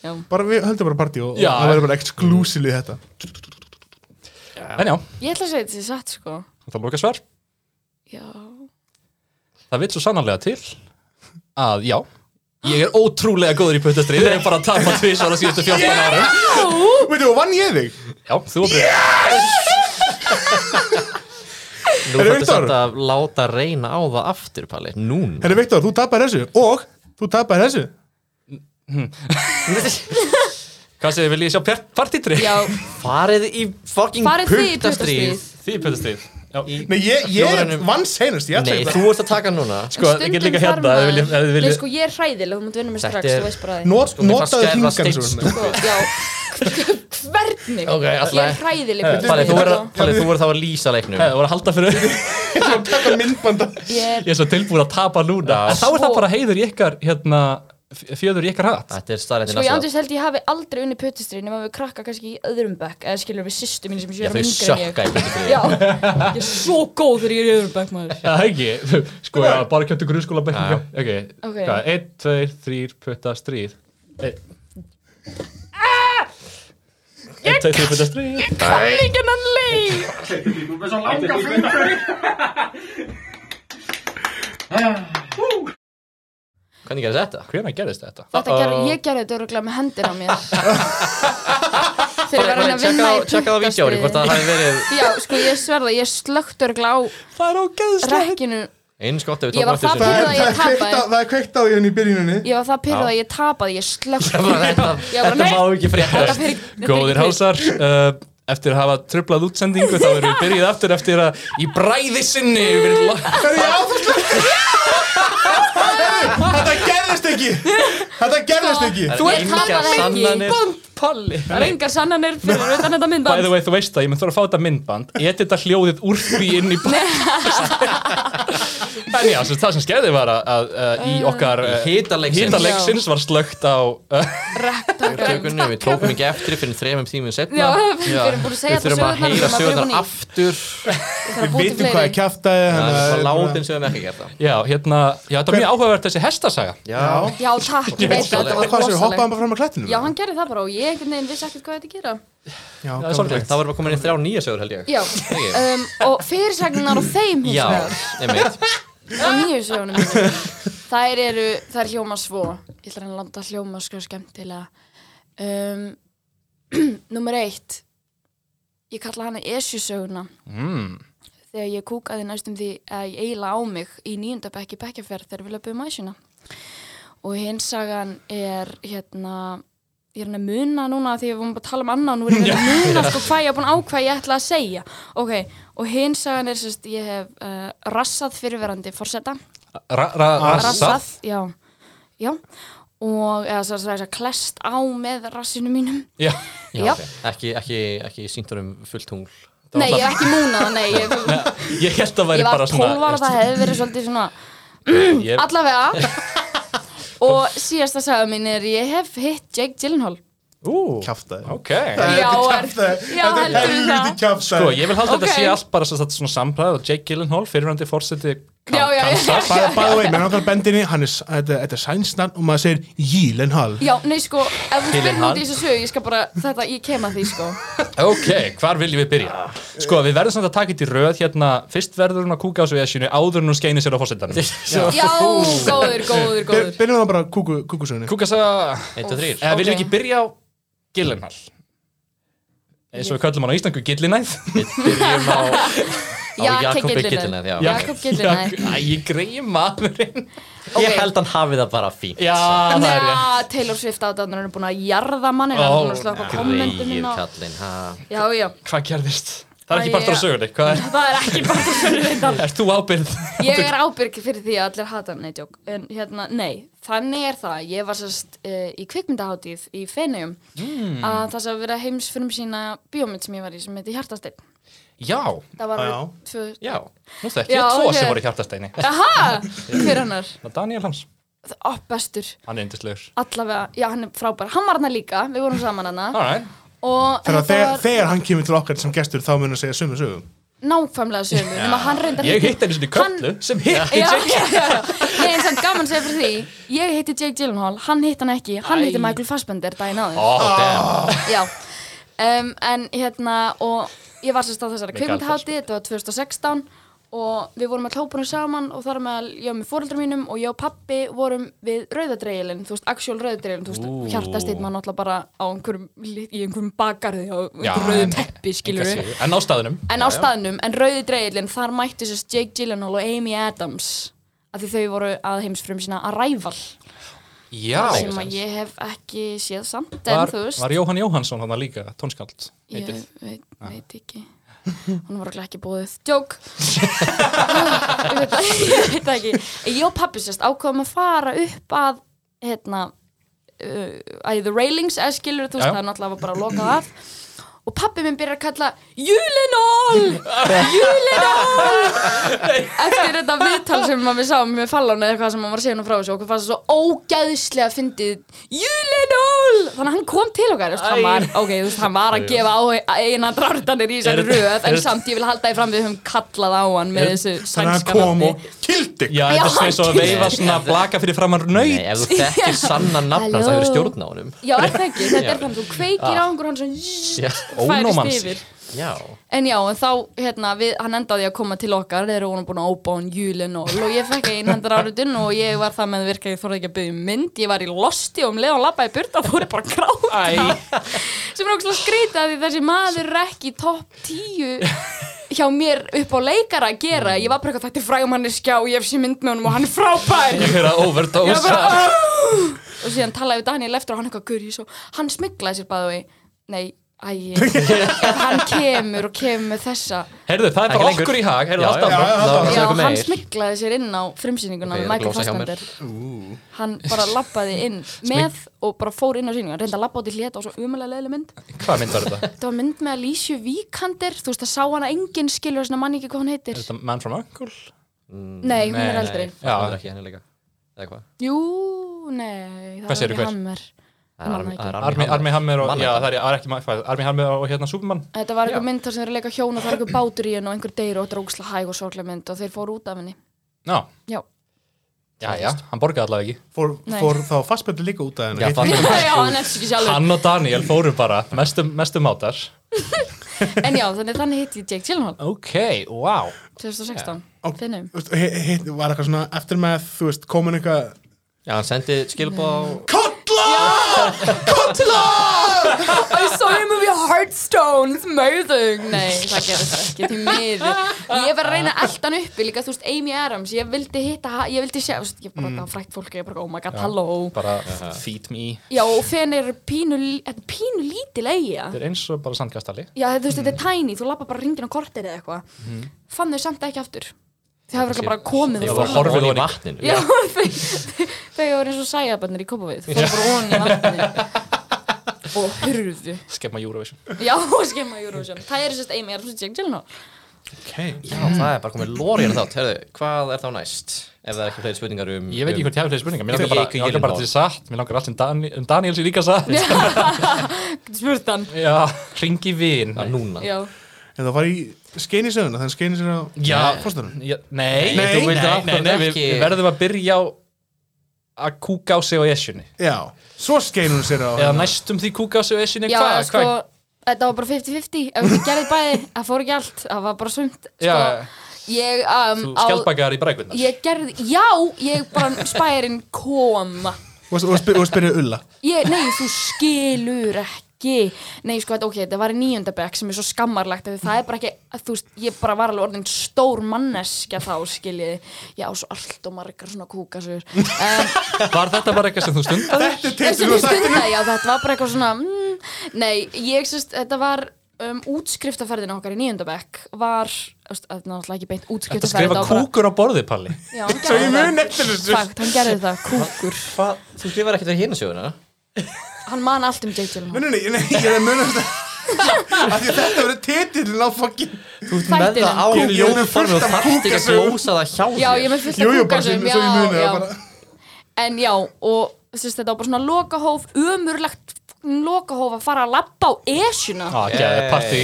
Speaker 4: Já,
Speaker 3: Bara við höldum bara partí og, og
Speaker 1: Já.
Speaker 3: það verður bara exklusíli þetta
Speaker 1: En já,
Speaker 4: ég ætla að segja þetta í satt sko
Speaker 1: það lóka svar
Speaker 4: Já,
Speaker 1: Það vil svo sannarlega til að já, ég er ótrúlega góður í puttastríð Ég er bara að tapa tvisvar á síðustu 14 árum
Speaker 3: Veitu, og vann ég þig?
Speaker 1: Já, þú og Brynjar
Speaker 2: nú
Speaker 3: Herra,
Speaker 2: fættu samt
Speaker 3: Viktor.
Speaker 2: að láta reyna á það aftur Palli, núna
Speaker 3: Herri Viktor, þú tapaði þessu og þú tapaði þessu
Speaker 1: Hvað segir, vil ég sjá partytrykk?
Speaker 4: já,
Speaker 2: farið í fucking
Speaker 4: farið þið í
Speaker 2: puttastríð
Speaker 4: puttastríð
Speaker 1: Því puttastríð Já.
Speaker 3: Nei, ég, ég
Speaker 2: Fjórunum.
Speaker 3: vann senast, ég
Speaker 2: nei,
Speaker 3: ætla
Speaker 2: þú
Speaker 3: þetta
Speaker 2: ert að taka hann núna
Speaker 1: Sko, ég get líka hérna ef þið viljið- ef þið
Speaker 4: Nei,
Speaker 1: viljið
Speaker 4: sko, ég er hræðileg, þú mútt vinna mér
Speaker 2: Þetta
Speaker 4: strax,
Speaker 2: er-
Speaker 4: þú veist bara því
Speaker 3: Not,
Speaker 2: Sko, mér fannst
Speaker 3: Notaðu
Speaker 2: skerfa
Speaker 3: hingan
Speaker 2: steins-
Speaker 3: svona
Speaker 4: Sko, já, hvernig?
Speaker 2: Ok,
Speaker 4: ég er
Speaker 2: alltaf
Speaker 4: hræðileg
Speaker 2: Palli, þú
Speaker 4: puttastríð,
Speaker 2: er
Speaker 4: sko.
Speaker 2: að- Palli, þú er þá að lýsa leiknum
Speaker 1: Það voru að halda fyrir augun.
Speaker 3: Taka myndbanda
Speaker 4: Ég er
Speaker 1: Ég er svo tilbúin að tapa núna
Speaker 2: Já.
Speaker 1: En þá er það
Speaker 4: Sko-
Speaker 1: bara heiður í ykkar hérna, f- Fjöður í ykkar hatt
Speaker 2: þetta er staðrættin
Speaker 4: Sko ég andist held ég hafi aldrei unni puttistri nema við krakka kannski í öðrum bekk eða skilur við sýstu mín sem ég
Speaker 2: Já,
Speaker 4: er
Speaker 2: þau
Speaker 4: yngri en ég
Speaker 2: sökka í puttastríði.
Speaker 4: Já, ég er svo góð þegar ég er í öðrum bekk maður
Speaker 1: Það ekki, sko já, bara kjöptu grunnskóla
Speaker 2: Já.
Speaker 1: bekkinga Ok,
Speaker 4: Ok.
Speaker 1: hvað, einn, tveir, þrýr, putta, stríð Einn,
Speaker 4: Ah!
Speaker 1: Einn, tveir, þrýr, putta, stríð
Speaker 4: Líkin hann leið
Speaker 2: hvernig gerðist þetta?
Speaker 1: Hvenær gerðist þetta?
Speaker 4: Þetta gerði, ég gerði þetta öruglega með hendir á mér Þegar ég var hann að vinna
Speaker 2: Tjekka-
Speaker 4: í
Speaker 2: tjekka á vídjóri hvort það
Speaker 4: puttastri
Speaker 2: hafi verið
Speaker 4: Já, sko ég sverða, ég slögt öruglega á
Speaker 1: Það er ógeðslega
Speaker 4: rekkinu
Speaker 2: eins gott ef við
Speaker 4: Ég
Speaker 2: tókum
Speaker 4: var
Speaker 2: eftir
Speaker 4: það
Speaker 3: Það
Speaker 4: pyrruð að
Speaker 2: þessu.
Speaker 4: ég
Speaker 3: er kveikt á-
Speaker 4: tapaði
Speaker 3: það er kveikt á því henni í byrjuninni
Speaker 4: Ég var það pyrruð að ég tapaði, ég slögt
Speaker 2: Þetta-
Speaker 4: Ég var
Speaker 2: Þetta
Speaker 4: bara,
Speaker 2: má
Speaker 4: nei,
Speaker 2: ekki frétta
Speaker 4: þetta fyrir
Speaker 1: Góðir hálsar, uh, eftir að hafa trublað útsendingu þá erum við byrjuð aftur eftir að í bræði sinni yfir lo-
Speaker 3: Herri, ég á það slögt Þetta gerðist ekki Þetta gerðist ekki
Speaker 4: Þú ert
Speaker 2: Engar
Speaker 4: tapað ekki
Speaker 2: sannanir.
Speaker 4: Palli Það er engar sannanir fyrir utan þetta
Speaker 1: By the
Speaker 4: myndband
Speaker 1: way, þú veist það, ég mun þurfa að fá þetta myndband Edita hljóðið úr því inn í podcast En já, sem, það sem skerði var að, að, að í
Speaker 4: Eh.
Speaker 1: okkar
Speaker 2: Í hita leiksins.
Speaker 1: hita leiksins var slögt á uh,
Speaker 4: Rektakum
Speaker 2: Tökunni, við tókum ekki eftir fyrir þremum tímum setna
Speaker 4: Já, við erum búin að segja
Speaker 2: við þurfum að heyra sögurnar
Speaker 4: sögurnar
Speaker 2: aftur
Speaker 3: Við vitum hvað er kjaftaði
Speaker 2: það er bara
Speaker 3: Þetta
Speaker 2: látin sem við hefum ekki gert það
Speaker 1: Já, hérna, já, þetta var mjög áhugavert þessi hestasaga
Speaker 2: já,
Speaker 4: Já, takk, ég veit
Speaker 2: Hvað
Speaker 4: þetta var
Speaker 3: Hvað séu, hoppaði hann
Speaker 4: rosalegt
Speaker 3: bara fram að klættinu?
Speaker 4: Já, hann gerði það bara og ég einhvern veginn vissi ekkert hvað þetta gera
Speaker 3: Já,
Speaker 1: það er sorglegt.
Speaker 2: það voru bara komin í þrjá nýja sögur held ég
Speaker 4: Já,
Speaker 2: Ekki?
Speaker 4: um, og fyrirsagnar á þeim hins
Speaker 2: já,
Speaker 4: vegar
Speaker 2: einmitt
Speaker 4: á nýju sögunum mínum. Þær eru, þær hljóma svo Ég ætla að reyna að landa að hljóma sko skemmtilega um, Númer eitt Ég kalla hana Esju söguna
Speaker 1: mm.
Speaker 4: þegar ég kúkaði næstum því að ég eila á mig í nýjunda bekki bekkjafjörð þegar við löpum æsjuna. Og hins sagan er hérna, ég er hann að muna núna af því að við vorum bara að tala um annan, nú er ég að reyna að muna sko hvað ég er búin að ákvað ég ætla að segja. Ok, og hins sagan er sérst, ég hef uh, rassað fyrirverandi forseta.
Speaker 1: ra, ra, Rassað
Speaker 4: Rassað, já, já, og eða svo að klest á með rassinu mínum.
Speaker 1: Já,
Speaker 4: Já.
Speaker 2: Já, ok. ekki, ekki, ekki sínturum fullt tungl
Speaker 1: Það var
Speaker 4: Nei, ég hef ekki múnað, nei, ég,
Speaker 1: ég held að
Speaker 4: ég
Speaker 1: væri
Speaker 4: var
Speaker 1: bara
Speaker 4: 12
Speaker 1: svona
Speaker 4: ára, það hefði verið svolítið svona
Speaker 1: ég,
Speaker 4: Allavega Og síðasta saga mín er Ég hef hitt Jake Gyllenhaal
Speaker 1: ú,
Speaker 3: Kjaftaði
Speaker 1: Ok
Speaker 4: Já, er- já,
Speaker 3: Þetta er
Speaker 4: heldur þú
Speaker 3: helviti
Speaker 4: það?
Speaker 3: kjaftaði
Speaker 1: Sko, ég vil halda
Speaker 4: Ok.
Speaker 1: þetta sé allt bara sem sagt svona sampræð og Jake Gyllenhaal, fyrirvændi fórseti
Speaker 4: já, já, já, já,
Speaker 1: Kansas.
Speaker 3: Bæ- By the way, mér náttúrulega bendinni, hann er, þetta þetta er sænsnarn og maður segir Jílenhall.
Speaker 4: já, nei sko ef þú spyrir
Speaker 1: Gyllenhaal.
Speaker 4: út í þessu sögu, ég skal bara þetta, ég kem að því sko
Speaker 1: Ok, hvar viljum við byrja? Sko, við verðum samt að taka þetta í röð hérna Fyrst verður hún að kúka á svo esjunu áður en hún skeinir sér á fósettanum
Speaker 4: já, góður, góður,
Speaker 3: Byr-
Speaker 4: góður
Speaker 3: Byrjum það bara kúku, kúkusögunni.
Speaker 1: Kúka svo
Speaker 2: Eitt og þrýr
Speaker 1: Eða eh, viljum við
Speaker 4: Ok.
Speaker 1: ekki byrja á Gyllenhall eins og við köllum hann á Íslandu Gyllinæð
Speaker 2: Byrjum á, á
Speaker 4: Já,
Speaker 2: Jakobi
Speaker 4: Kegillinen.
Speaker 2: Gillinæð
Speaker 4: Já. Jakob Gyllenhaal.
Speaker 1: Jak- Æ, ég greið maðurinn
Speaker 4: Ok.
Speaker 2: Ég held hann hafi það bara fínt
Speaker 1: Já, það er ég
Speaker 4: Nja, Taylor Swift aðdæðan er búin að jarða mannin hann er búin að slökka kommentum
Speaker 2: Greið
Speaker 4: hérna og-
Speaker 2: kallinn ha.
Speaker 4: já, já,
Speaker 1: Hvað gerðist? Það er
Speaker 4: Æ,
Speaker 1: ekki partur á
Speaker 4: ég-
Speaker 1: sögunni Hvað er,
Speaker 4: það er ekki bara þessu reyndar
Speaker 1: er þú ábyrð?
Speaker 4: ég er ábyrg fyrir því að allir hata hann eitthjók en hérna, nei, þannig er það ég var sérst uh, í kvikmyndahátíð í Feneyjum að það sem að vera heimsfyrum sína bíómynd sem ég var í sem heiti Hjartasteinn
Speaker 1: Já,
Speaker 4: það var
Speaker 3: Já.
Speaker 4: árið tvö
Speaker 1: já Nú þekki
Speaker 4: Já,
Speaker 1: ég tvo
Speaker 4: ok.
Speaker 1: sem voru í hjartasteini
Speaker 4: aha, hver annar,
Speaker 1: Það er Daniel Hans
Speaker 4: oh, bestur
Speaker 1: Hann er yndislegur
Speaker 4: allavega, já hann er frábær, hann var hann líka við vorum saman hann
Speaker 1: Alright
Speaker 4: og
Speaker 3: Þegar,
Speaker 4: þetta
Speaker 3: þegar,
Speaker 4: var
Speaker 3: þegar hann kemur til okkar sem gestur þá mun að segja sömu sögum.
Speaker 4: nákvæmlega sömu nema hann reyndar
Speaker 1: Ég
Speaker 4: hitti-
Speaker 1: hitt einu sinni köllu sem hitt
Speaker 4: Já, já, já. Nei, eins og gaman segja fyrir því Ég heiti Jake Gyllenhaal, hann hitt hann ekki Hann
Speaker 1: Æ.
Speaker 4: hitti Michael Fassbender daginn áður
Speaker 1: Ó, damn
Speaker 4: Já, um, en hérna og ég var sérst á þessari
Speaker 1: Michael
Speaker 4: kvikmyndahátti, þetta var 2016 og við vorum að klópunum saman og þar með ég var með fóreldrum mínum og ég og pappi vorum við rauðadreilin, þú veist, actual rauðadreilin,
Speaker 1: Ú.
Speaker 4: þú veist, hjartasteinn maður náttúrulega bara á einhverjum, lit- í einhverjum bakarði á
Speaker 1: Já,
Speaker 4: einhverjum rauðu teppi, skilur við.
Speaker 1: Kannski. En á staðunum
Speaker 4: En á staðnum, en rauði dreigilinn, þar mættu sérst Jake Gyllenhaal og Amy Adams af því þau voru að heimsfrum sína að ræval
Speaker 1: Já
Speaker 4: sem að ég hef ekki séð samt en
Speaker 1: var,
Speaker 4: þú veist,
Speaker 1: var Ah. Jóhann Jóhannsson hann líka, tónskáld
Speaker 4: ég
Speaker 1: heitið.
Speaker 4: veit, veit ekki hún var ekki búið djók ég veit það ég veit það ekki ég og pappi sérst ákváðum að fara upp að hérna uh, að the railings eða skilur þú
Speaker 1: Já, já.
Speaker 4: veist það er náttúrulega bara að loka það og pappi minn byrjar að kalla Júlinól Júlinól eftir þetta viðtal sem að við sáum með Fallon eða eitthvað sem hann var að segja nú frá þessu og okkur fannst það svo ógæðslega fyndið Júlinól þannig að hann kom til okkar þú veist, hann, var, okay, þú veist, hann var að gefa á eina drártanir í þessari
Speaker 1: Er-
Speaker 4: röð
Speaker 1: er-
Speaker 4: en samt ég vil halda því fram við höfum kallað á hann með þessu
Speaker 3: Þannig að hann
Speaker 4: sænska
Speaker 3: kom
Speaker 4: nafni
Speaker 3: og kildi.
Speaker 1: Já,
Speaker 4: Já,
Speaker 1: þetta er svo að
Speaker 4: hann-
Speaker 1: veifa svona blaka fyrir framar
Speaker 2: Nei,
Speaker 1: nöyt
Speaker 2: ef þú þekkir sanna nafn hans,
Speaker 4: Halló.
Speaker 2: það hefur stjórn á honum
Speaker 4: Já, er það ekki, þetta er þannig, þú kveikir á
Speaker 3: Ah.
Speaker 4: einhver hann svona
Speaker 2: Já,
Speaker 4: færist
Speaker 1: ónómansi.
Speaker 4: yfir
Speaker 2: Já,
Speaker 4: En já, en þá, hérna, við, hann endaði að koma til okkar þegar hún er búin að óbá hann júlin og og ég fekk einhendar árutun og ég var það með virka, ég þorði ekki að byggja mynd ég var í losti og um leið og labbaði í burt og fór ég bara að gráta
Speaker 1: Æ,
Speaker 4: sem er ógslag skrýta því þessi maður er ekki í topp 10 hjá mér upp á leikara að gera ég var bara eitthvað þetta er frægumanneskja og ég hef sér mynd með honum og hann er frábær
Speaker 1: ég er að
Speaker 4: Ég
Speaker 1: overdosa
Speaker 4: bara, "Aah!" og síðan talaði við Daniel eftir og hann eitthvað guri svo, hann smiklaði sér bæðu í nei, æg ef hann kemur og kemur með þessa
Speaker 1: Heyrðu, það er
Speaker 2: Ekki
Speaker 1: bara
Speaker 2: lengur.
Speaker 1: okkur í hag Heyrðu,
Speaker 2: já,
Speaker 1: alltaf
Speaker 3: já, já, já.
Speaker 2: Það var
Speaker 4: já,
Speaker 2: eitthvað
Speaker 4: hann
Speaker 2: meir.
Speaker 4: smiklaði sér inn á frumsýninguna
Speaker 2: Ok,
Speaker 4: með
Speaker 2: ég er að
Speaker 4: Michael
Speaker 2: glosa hjá mér.
Speaker 4: Fassbender hann bara lappaði inn með og bara fór inn á sýninguna, reynda að lappa út í hlét á svo umalega leðileg mynd
Speaker 1: Hvað mynd var þetta?
Speaker 4: þetta var mynd með Alicia Vikander þú veist það sá hana enginn skilur þess að manni ekki hvað hún heitir
Speaker 1: Er þetta Man from Uncle?
Speaker 4: nei, hún er
Speaker 1: Nei,
Speaker 4: eldri
Speaker 2: Nei, það er ekki henni líka Eða hvað?
Speaker 4: jú, nei, það
Speaker 1: Hvað
Speaker 4: var
Speaker 1: segirðu,
Speaker 4: ekki
Speaker 1: hver?
Speaker 4: Hammer
Speaker 2: Það er Armi- það er
Speaker 1: Armi, Armi Hammer og,
Speaker 2: Mann-
Speaker 1: já, það er, það er ekki Mike Armi Hammer og hérna Superman
Speaker 4: Þetta var einhver mynd þar sem þeir eru að leika hjón og það er einhver bátur í henn og einhver deyr og þetta er ógslag hæg og sorglega mynd og þeir fóru út af henni.
Speaker 1: Já,
Speaker 4: Já.
Speaker 1: já, já, hann borgaði allavega ekki
Speaker 3: Fór,
Speaker 4: Nei.
Speaker 3: fór þá fastbættu líka út af henni.
Speaker 1: Já,
Speaker 3: Hitt-
Speaker 1: það-
Speaker 4: já, hann er ekki sjálfur.
Speaker 1: Hann og Daniel fóru bara, mestum, mestum mátar
Speaker 4: En já, þannig þannig hitti ég Jake Gyllenhaal
Speaker 1: Ok, wow
Speaker 4: 2016.
Speaker 3: Á-
Speaker 4: Finnum.
Speaker 3: Þú veist, hi- hitt var eitthvað svona eftir með, þú veist, komin eitthvað
Speaker 2: Já, hann sendi skilbóð á
Speaker 4: I saw him of your heartstones, mörðung. Nei, það gerðist ekki til mér. Ég var að reyna eldan uppi líka, þú veist, Amy Adams, ég vildi hitta, ha- ég vildi sjá, þú veist, ég bara mm. frækt fólk, ég bara, oh my god, hello.
Speaker 1: Bara feed me
Speaker 4: Já, og fenn er pínu, þetta er pínu lítil eiga.
Speaker 1: Þetta er eins og bara sandkastali
Speaker 4: Já, þú veist, þetta er Mm. tiny, þú lappa bara ringin á kortir eða eitthvað. Fann þau samt ekki aftur. Þau hafa örugglega bara komið
Speaker 1: Þau
Speaker 4: og
Speaker 1: voru
Speaker 4: fór.
Speaker 1: horfið
Speaker 2: horfið í
Speaker 1: ofan í-
Speaker 2: vatninu
Speaker 4: Já, þau, þau, þau voru eins og sæjabannir í Kópavið. Fóru bara onni í vatnið. og hurðu.
Speaker 1: Skemma Eurovision
Speaker 4: Já, og skemma Eurovision. Það er sérst Amy Adams og Jake Gyllenhaal.
Speaker 2: Já, það er bara komið lór í hann þátt Herðu, hvað er þá næst? Ef það er ekki fleiri spurningar um
Speaker 1: Ég veit ekki hvort ég hafi fleiri spurningar Mér
Speaker 2: Ég
Speaker 1: langar bara,
Speaker 2: ekki
Speaker 1: mér langar bara
Speaker 2: Gyllenhaal.
Speaker 1: til satt Mér langar allt um, Dan um Daniel sem líka satt
Speaker 4: Spurt hann.
Speaker 1: Já, hringi vin
Speaker 2: Það er núna
Speaker 4: Já.
Speaker 3: En það var í skeinisöðuna, þannig skeinisöðuna
Speaker 1: Já.
Speaker 3: Fórstæðan
Speaker 1: Já, nei,
Speaker 3: Nei,
Speaker 1: þú vildir
Speaker 2: nei,
Speaker 1: ákvæmlega
Speaker 2: nei,
Speaker 1: við,
Speaker 2: ekki.
Speaker 1: við verðum að byrja á að kúka á sig á esjunni
Speaker 3: Já, svo skein hún sér á
Speaker 1: eða næstum því kúka á sig á esjunni
Speaker 4: Já,
Speaker 1: hvað,
Speaker 4: sko, þetta var bara 50-50 ef við gerðum bæði, það fór ekki allt það var bara sumt
Speaker 1: Já,
Speaker 4: sko, ég, um,
Speaker 1: þú
Speaker 4: á-
Speaker 1: skjaldbakaðar í brækvinnar
Speaker 4: ég gerði, já, ég bara spærin koma
Speaker 3: Og, og, spyr, og spyrir Ulla
Speaker 4: ég, nei, þú skilur ekki nei, sko, þetta, ok, þetta var í níunda bekk sem er svo skammarlegt, af því það er bara ekki að, þú veist, ég bara var alveg orðin stór manneskja þá, skiljiði, já, svo allt og margar svona kúkasur um,
Speaker 1: Var þetta bara eitthvað sem þú stundaði?
Speaker 3: Þetta er
Speaker 4: Þessi
Speaker 3: tengslum á
Speaker 4: þú
Speaker 3: þættinum.
Speaker 4: stundaði, já, þetta var bara eitthvað svona mm, Nei, ég sérst, þetta var um, útskriftaferðin okkar í nýjöndabæk var, þú veist, þetta er náttúrulega ekki beint
Speaker 1: Þetta
Speaker 4: útskriftaferð
Speaker 1: skrifa kúkur á borði, Palli
Speaker 4: Já, hann
Speaker 3: Svo ég
Speaker 4: gerði
Speaker 3: mun
Speaker 4: það
Speaker 3: eftir þessu
Speaker 4: Fakt, hann gerði það, kúkur
Speaker 2: Hvað, þú skrifar ekkert fyrir hérna söguna?
Speaker 4: Hann man allt um J. Gyllenhaal
Speaker 3: Nei, nei, nei, nei, ég er að muna þetta Af því að þetta verið titillin á fucking
Speaker 2: Þú ert með
Speaker 4: Þættinum.
Speaker 2: það á
Speaker 3: Ég- ég er með fullt
Speaker 2: ljóðformi og
Speaker 3: af
Speaker 2: þarft ekki að
Speaker 3: kúkasögum.
Speaker 2: glósa það hjá
Speaker 4: Já, ég er
Speaker 2: þér.
Speaker 4: með fullt
Speaker 3: Jú,
Speaker 4: af
Speaker 3: jú, bara sem
Speaker 4: kúkasum
Speaker 3: svo ég muni
Speaker 4: já,
Speaker 3: það bara
Speaker 4: já. En já, og sérst, þetta var bara svona lokahóf Umurlegt lokahóf að fara að labba á esjuna
Speaker 1: Á, gæði, partí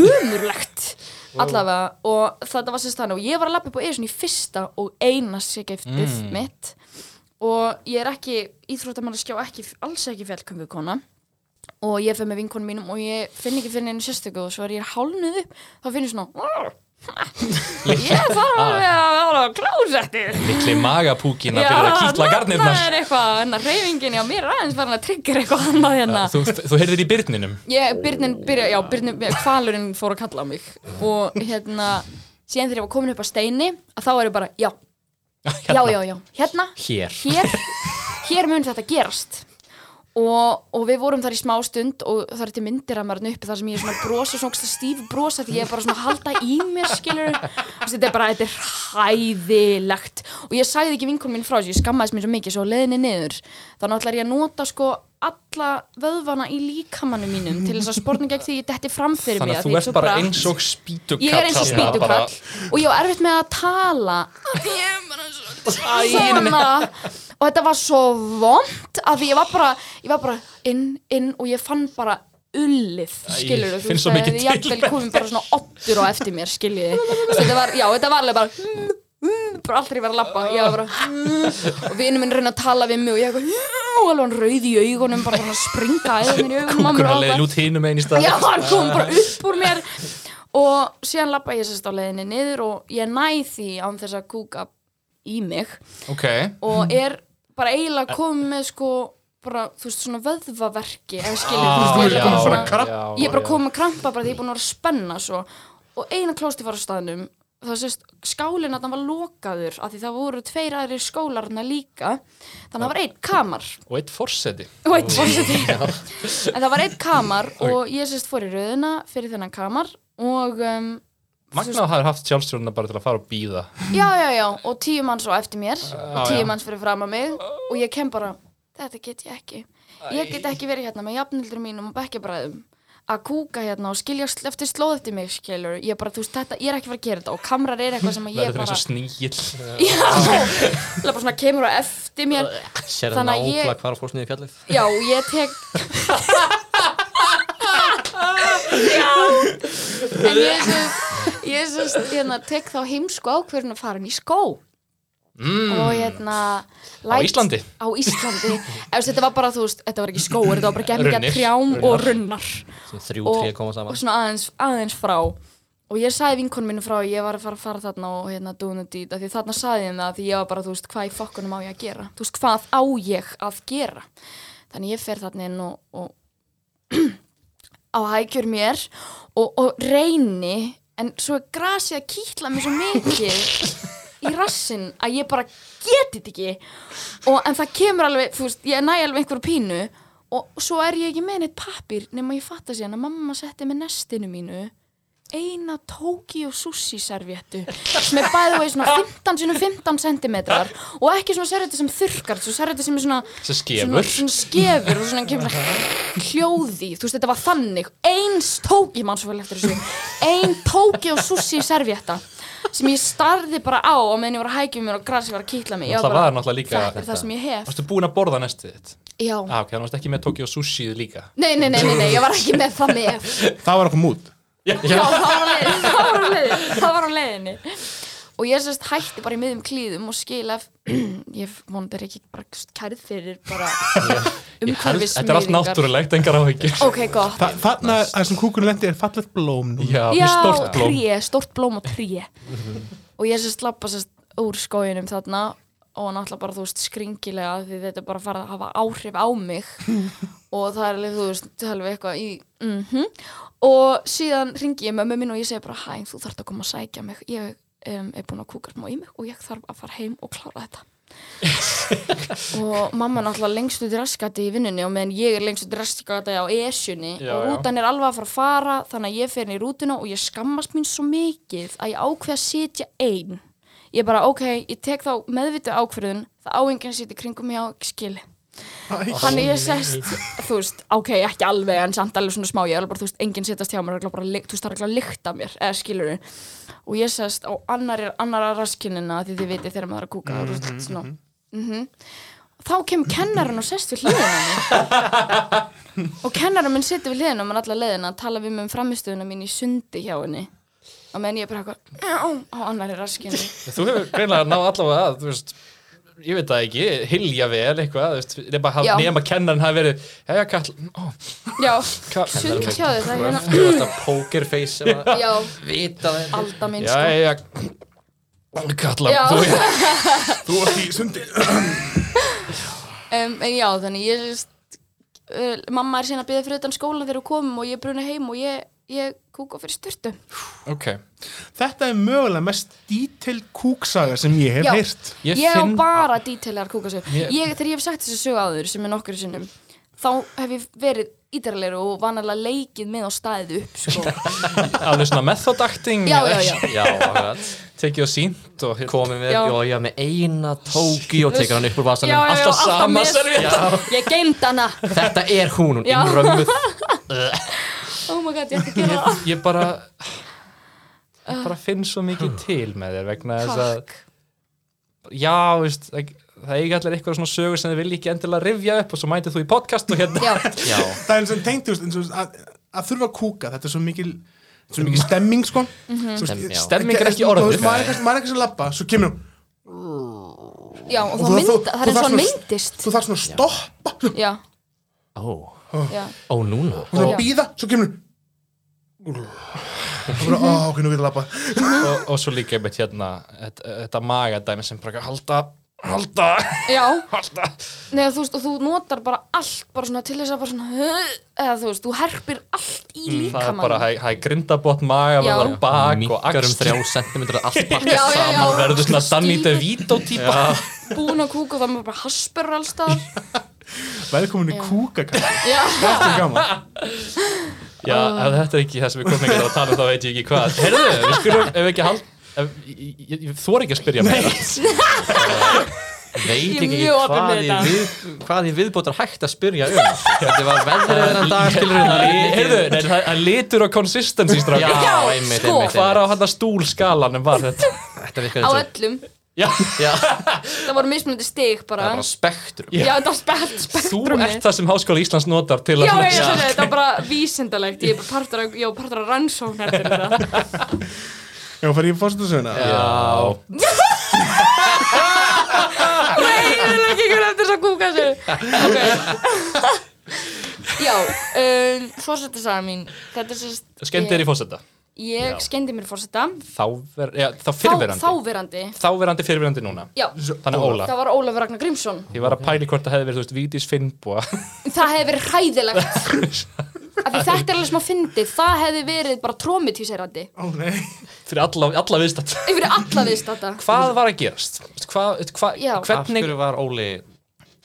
Speaker 4: umurlegt allavega og þetta var sérst þannig og ég var að lappa upp á Eirísun í fyrsta og eina sigiftið
Speaker 1: Mm.
Speaker 4: mitt og ég er ekki, íþróttamann að skjá ekki, alls ekki fjallköngu kona og ég fer með vinkonum mínum og ég finn ekki fyrir einu sérstöku og svo er ég hálnuð upp þá finn ég svona ég
Speaker 1: Ah.
Speaker 4: þarf alveg að vera á klósettið
Speaker 1: Mikli magapúkina fyrir að kýtla
Speaker 4: það
Speaker 1: garnirnar
Speaker 4: er eitthvað, en reyfingin hjá mér er aðeins farin að tryggja eitthvað annað hérna
Speaker 1: Þú, þú heyrðir í byrninum
Speaker 4: Ég, Byrnin byrja, já, Byrnin, kvalurinn fór að kalla á mig og hérna, síðan þegar ég var komin upp á steini að þá er ég bara, já, já, já, já hérna,
Speaker 1: Hér
Speaker 4: hér hér mun þetta gerast og, og við vorum þar í smá stund og það er til myndir að maður uppi þar sem ég er svona að brosa svona ógeðslega stíf brosa því ég er bara svona að halda í mér skilur og þetta er bara, þetta er hæðilegt og ég sagði ekki vinkonum mín frá þessu, ég skammaðist mér svo mikið svo á leiðinni niður þá náttúrulega er ég að nota sko alla vöðvana í líkamannu mínum til þess að spórna gegn því ég detti fram fyrir
Speaker 1: Þannig
Speaker 4: mig
Speaker 1: að
Speaker 4: því
Speaker 1: þú
Speaker 4: ég
Speaker 1: ert
Speaker 4: er svo
Speaker 1: bara
Speaker 4: bratt.
Speaker 1: eins og spýtukall
Speaker 4: Ég er eins og
Speaker 1: þarna, bara-
Speaker 4: spýtukall og ég á erfitt með að tala Ég er bara svona og þetta var svo vond að því ég var bara, ég var bara inn, inn og ég fann bara ullið, skilur
Speaker 1: finn svo mikið til
Speaker 4: jafnvel komið bara svona ottur á eftir mér, skilur þetta var, já, þetta var alveg bara bara alltaf ég var að lappa ég var bara og vinur minn reyna að tala við mig og ég eitthvað og alveg hann rauð í augunum bara svona að springa að mér í augunum á mér
Speaker 1: Kúkur
Speaker 4: og
Speaker 1: að
Speaker 4: allt.
Speaker 1: leiði lút hinum einn í stað
Speaker 4: Já, hann kom bara upp úr mér og síðan lappa ég sérst á leiðinni niður og ég næ því án þess að kúka í mig
Speaker 1: Ok
Speaker 4: og
Speaker 1: Mhm.
Speaker 4: er bara eiginlega komið með sko bara, þú veist, svona vöðvaverki ef skilur,
Speaker 1: Ah,
Speaker 4: þú veist, ég
Speaker 1: já,
Speaker 4: er bara
Speaker 1: já, já,
Speaker 4: svona ég er bara
Speaker 1: já.
Speaker 4: komið með krampa bara því ég er búin að vera að spenna svo og eina klósti var á staðnum þá sést, skálinn að það var lokaður af því það voru tveir aðri skólarna líka þannig að það var einn kamar
Speaker 1: Og eitt forseti
Speaker 4: og einn fórseti en það var einn kamar og ég sérst fór í rauðina fyrir þennan kamar og um,
Speaker 1: Magna hafði haft sjálfstjórnuna bara til að fara og býða
Speaker 4: já, já, já, og tíu manns á eftir mér og tíu manns fyrir fram að mig og ég kem bara, þetta get ég ekki ég get ekki verið hérna með jafnildur mínum og bekkjabræðum að kúka hérna og skilja sl- eftir slóð eftir mig skilur, ég bara, þú veist, þetta, ég er ekki að fara að gera þetta og kamrar er eitthvað sem að ég
Speaker 1: Verður eins
Speaker 4: bara
Speaker 1: og sníl
Speaker 4: já, það bara svona kemur á eftir mér
Speaker 2: Sér
Speaker 4: Þannig að
Speaker 2: nákvæmlega
Speaker 4: ég-
Speaker 2: hvar að fórst niður fjallið.
Speaker 4: Já, ég tek Já En ég sem Ég sem hérna, tek þá heimsku ákverðin að fara hann í skó mm. Og hérna
Speaker 1: Á
Speaker 4: læt-
Speaker 1: Íslandi?
Speaker 4: Á Íslandi Ef þetta var bara, þú veist, þetta var ekki skóur Þetta var bara gemminga
Speaker 1: Runnir.
Speaker 4: trjám og runnar
Speaker 2: Sem þrjú,
Speaker 4: Og-
Speaker 2: tré koma
Speaker 4: Og
Speaker 2: saman.
Speaker 4: svona aðeins, aðeins frá Og ég sagði vinkonum mínu frá að Ég var að fara að fara þarna og hérna dúnu dít af Því þarna sagði ég það Því ég var bara, þú veist, hvað í fokkunum á ég að gera Þú veist, hvað á ég að gera Þannig ég fer þarna inn og, og á hækjur mér og, og reyni en svo er grasið að kýtla mér svo mikið í rassin að ég bara geti þetta ekki og, en það kemur alveg, þú veist, ég næ alveg einhverju pínu og svo er ég ekki með neitt pappir nema ég fatta síðan að mamma setti með nestinu mínu eina Tokyo sushi servéttu sem er bæði vegi svona 15 sinum 15 cm og ekki svona servéttu sem þurrkar svo servéttu sem er svona
Speaker 1: Sem skefur.
Speaker 4: svona, svona skefur og svona kemur svona hljóði þú veist þetta var þannig eins Tokyo, ég man svo vel eftir þessu ein Tokyo sushi servétta sem ég starði bara á og meðan ég var að hækja um mér og grasi var að kýtla mig Ég
Speaker 1: Það
Speaker 4: bara,
Speaker 1: var náttúrulega líka
Speaker 4: þetta er það sem ég hef
Speaker 1: Varstu Ah. búin að borða næstu þitt?
Speaker 4: já
Speaker 1: Ah, ok, þannig varstu ekki með Tokyo Sushi líka
Speaker 4: Nei, nei, nei, nei, nei, ég var ekki með það með
Speaker 3: Það var okkur mút
Speaker 1: Já,
Speaker 4: Já, þá var hann leiðin, þá var hann leiðin, þá var hann leiðinni. Og ég sérst hætti bara í miðum klíðum og skila, ég vonandi er ekki bara kærð fyrir bara umhverfismýringar.
Speaker 1: Þetta er allt náttúrulegt, engar áhyggjur
Speaker 4: Ok, gott.
Speaker 3: Þa, þarna, það sem kúkunum lendi er fallet blóm núna.
Speaker 1: Já,
Speaker 4: Já,
Speaker 1: mjög stórt blóm
Speaker 4: tré, stórt blóm og tré. og ég sérst lappa sérst úr skóginum þarna og náttúrulega bara, þú veist, skringilega því þetta er bara að fara að hafa áhrif á mig og það er alveg, þú veist, alveg eitthvað í, mhm. og síðan ringi ég mömmu mín og ég segi bara, hæ, þú þarft að koma að sækja mig, ég um, er búin að kúka smá í mig og ég þarf að fara heim og klára þetta. og mamma er náttúrulega lengst út í raskati í vinnunni og meðan ég er lengst út í raskati á esjunni
Speaker 1: Já,
Speaker 4: og
Speaker 1: já.
Speaker 4: rútan er alveg að fara að fara þannig að ég fer inn í rútuna og ég skammast mín svo mikið að ég ákveð að sitja ein ég bara ok, ég tek þá meðvitið ákveðun það á enginn að sitja í kringum mig á skili þannig ég sest, þú veist, ok, ekki alveg en samt alveg svona smá, ég er alveg bara, þú veist, enginn sittast hjá mér, örugglega bara, lykt- þú veist, það er ekki að lykta mér eða skilur og ég sest á annar, annara raskinina því þið vitið þegar maður er að kúka mm -hmm, svona,
Speaker 1: Mhm,
Speaker 4: mm þá kemur kennarinn og sest við hliðina á mér og kennarinn minn situr við hliðina á mér alla leiðina að tala við mig um framistöðuna mín í sundi hjá henni og meðan ég er bara eitthvað "Njá", á annari raskinu
Speaker 1: Þú hefur greinlega náð allavega að, þú veist Ég veit það ekki, hilja vel eitthvað þú veist, nema, haf,
Speaker 4: Já.
Speaker 1: nema kennan hafi verið Jæja, kall, ó,
Speaker 4: já,
Speaker 1: kall
Speaker 4: sund hjá þau það er hérna
Speaker 2: Þú veist að pokerface sem að
Speaker 4: já,
Speaker 2: vita þetta
Speaker 4: alda mín sko
Speaker 1: Jæja, kalla
Speaker 4: Já.
Speaker 1: Þú
Speaker 3: Þú varst í sundi.
Speaker 4: um, en já, þannig ég sest, uh, mamma er síðan að byrja fyrir utan skóla þegar við komum og ég bruna heim og ég, ég kúka fyrir styrtu
Speaker 1: Ok,
Speaker 3: Þetta er mögulega mest dítil kúksaga sem ég hef
Speaker 4: Já.
Speaker 3: heyrt.
Speaker 1: ég,
Speaker 4: ég, á
Speaker 1: finn
Speaker 4: bara dítilegar kúkasögur
Speaker 1: Ég-
Speaker 4: ég, þegar ég hef sagt þessu sögu áður sem er nokkur sinnum þá hef ég verið ídarlegur og vanalega leikið með á staðið upp sko.
Speaker 1: alveg svona method acting
Speaker 4: Já,
Speaker 1: eða
Speaker 4: já,
Speaker 1: ekki?
Speaker 2: Já, akkurat.
Speaker 1: Tekið og sínt og hérna
Speaker 2: komið með,
Speaker 4: Já.
Speaker 2: já, já, með eina tóki og tekur hann upp úr vasanum
Speaker 4: Já, já, já,
Speaker 2: alltaf
Speaker 4: alltaf
Speaker 2: sama
Speaker 4: með-
Speaker 2: servíetta
Speaker 4: ég geimd hana
Speaker 2: Þetta er hún, hún
Speaker 4: Já.
Speaker 2: innrömmuð
Speaker 4: oh my god, ég ætti að gera það
Speaker 1: ég, ég bara ég bara finn svo mikið til með þér vegna þess að
Speaker 4: Uh. Takk.
Speaker 1: já, veist, það það eiga allir eitthvað svona sögur sem þið vilja ekki endilega rifja upp og svo mætið þú í podcast og hérna
Speaker 4: Já,
Speaker 2: Já,
Speaker 3: Það er eins og tengt, þú veist, eins og að, að þurfa að kúka, þetta er svo mikil, svo mikil stemming, sko. Þú veist,
Speaker 2: Stem- já.
Speaker 1: Stemming er ekki
Speaker 3: þú
Speaker 1: orðið.
Speaker 3: veist, Maður er kannski- maður er kannski að labba, svo kemur hún.
Speaker 4: já, og
Speaker 3: Og
Speaker 4: þá
Speaker 3: þú-
Speaker 4: mynda,
Speaker 3: þú-
Speaker 4: það
Speaker 3: þú
Speaker 4: er eins og hann
Speaker 3: þarft svona-
Speaker 4: myndist
Speaker 3: Þú þarf svona að stoppa, svo-
Speaker 4: Já,
Speaker 2: ó,
Speaker 4: já,
Speaker 2: ó núna
Speaker 3: þú þarf
Speaker 4: Já.
Speaker 3: að býða, svo kemur hún. Og bara, ó, ok, nú getur að labba.
Speaker 1: og, og svo líka einmitt hérna þetta, þetta magadæmi sem bara halda halda,
Speaker 4: já
Speaker 1: halda
Speaker 4: Nei, þú veist, og þú notar bara allt bara svona til þess að bara svona eða þú veist, þú herpir allt í
Speaker 1: Mm, það er
Speaker 4: líkamann
Speaker 1: bara, það er grindabott maga
Speaker 4: Já.
Speaker 1: verður bak og
Speaker 2: Minkar um
Speaker 1: axl
Speaker 2: þrjá sentimentur allt
Speaker 4: Já,
Speaker 2: pakka
Speaker 4: já, já.
Speaker 2: saman
Speaker 1: verður svona Danny DeVito típa
Speaker 4: búin að kúka og þá er maður bara haspur allstað
Speaker 3: Velkomin í kúkakall,
Speaker 4: Já,
Speaker 3: þetta er gaman.
Speaker 1: já, ef þetta er ekki það sem við komum ekki að tala um, þá veit ég ekki hvað heyrðu, við skulum, ef við ekki hald ef, ég, ég, ég þor ekki að spyrja meira
Speaker 2: Veit
Speaker 4: Ég er
Speaker 2: ekki
Speaker 4: mjög opin
Speaker 2: hvað
Speaker 4: með
Speaker 2: í,
Speaker 4: þetta.
Speaker 2: við, hvað í viðbótar hægt að spyrja um Þetta var veðrið þennan dag skilur hún
Speaker 1: heyrðu, nei, það það er litur og consistency
Speaker 2: Já,
Speaker 1: strákar
Speaker 4: Já,
Speaker 2: einmitt,
Speaker 4: sko.
Speaker 2: einmitt,
Speaker 1: hvað er á
Speaker 2: einmitt
Speaker 1: hann að stúlskalanum var þetta
Speaker 2: Þetta virkar
Speaker 4: á
Speaker 2: eins og
Speaker 4: öllum
Speaker 1: já,
Speaker 2: Já,
Speaker 4: Það voru mismunandi stig
Speaker 2: það
Speaker 4: bara
Speaker 2: er bara spektrum
Speaker 4: Já, þetta var spekt,
Speaker 1: þú
Speaker 4: spektrum
Speaker 1: ert það sem Háskóla Íslands notar til að
Speaker 4: Já, ég,
Speaker 1: Já.
Speaker 4: ég, þetta var bara vísindalegt Ég er bara partur af, ég var partur af rannsóknar fyrir það.
Speaker 3: Já, fær ég fórstu svona?
Speaker 1: Já.
Speaker 4: Ég vil ekki ykkur eftir þess að kúka sér okay. Já, um, fórsettasaga mín Þetta er sérst
Speaker 1: Skemmtir í fósetta
Speaker 4: Ég
Speaker 1: Já.
Speaker 4: skendi mér fórsetta
Speaker 1: Þá, ver, já, þá
Speaker 4: Þá-
Speaker 1: fyrirverandi þá,
Speaker 4: Þáverandi
Speaker 1: Þáverandi fyrirverandi núna
Speaker 4: Já,
Speaker 1: Þannig Óla
Speaker 4: það var Ólafur Ragnar Grímsson
Speaker 1: Ég var að pæli hvort það hefði verið, þú veist, Vítis Finnbúa
Speaker 4: Það hefði verið hræðilegt Af því Þetta er alveg smá fyndið Það hefði verið bara trómitíserandi
Speaker 3: Ó, nei.
Speaker 1: Fyrir alla, alla viðstætt
Speaker 4: Yfir alla viðstata
Speaker 1: Hvað var að gerast? Hvað, hvað,
Speaker 4: Já.
Speaker 2: Af
Speaker 1: hvernig
Speaker 2: hverju var Óli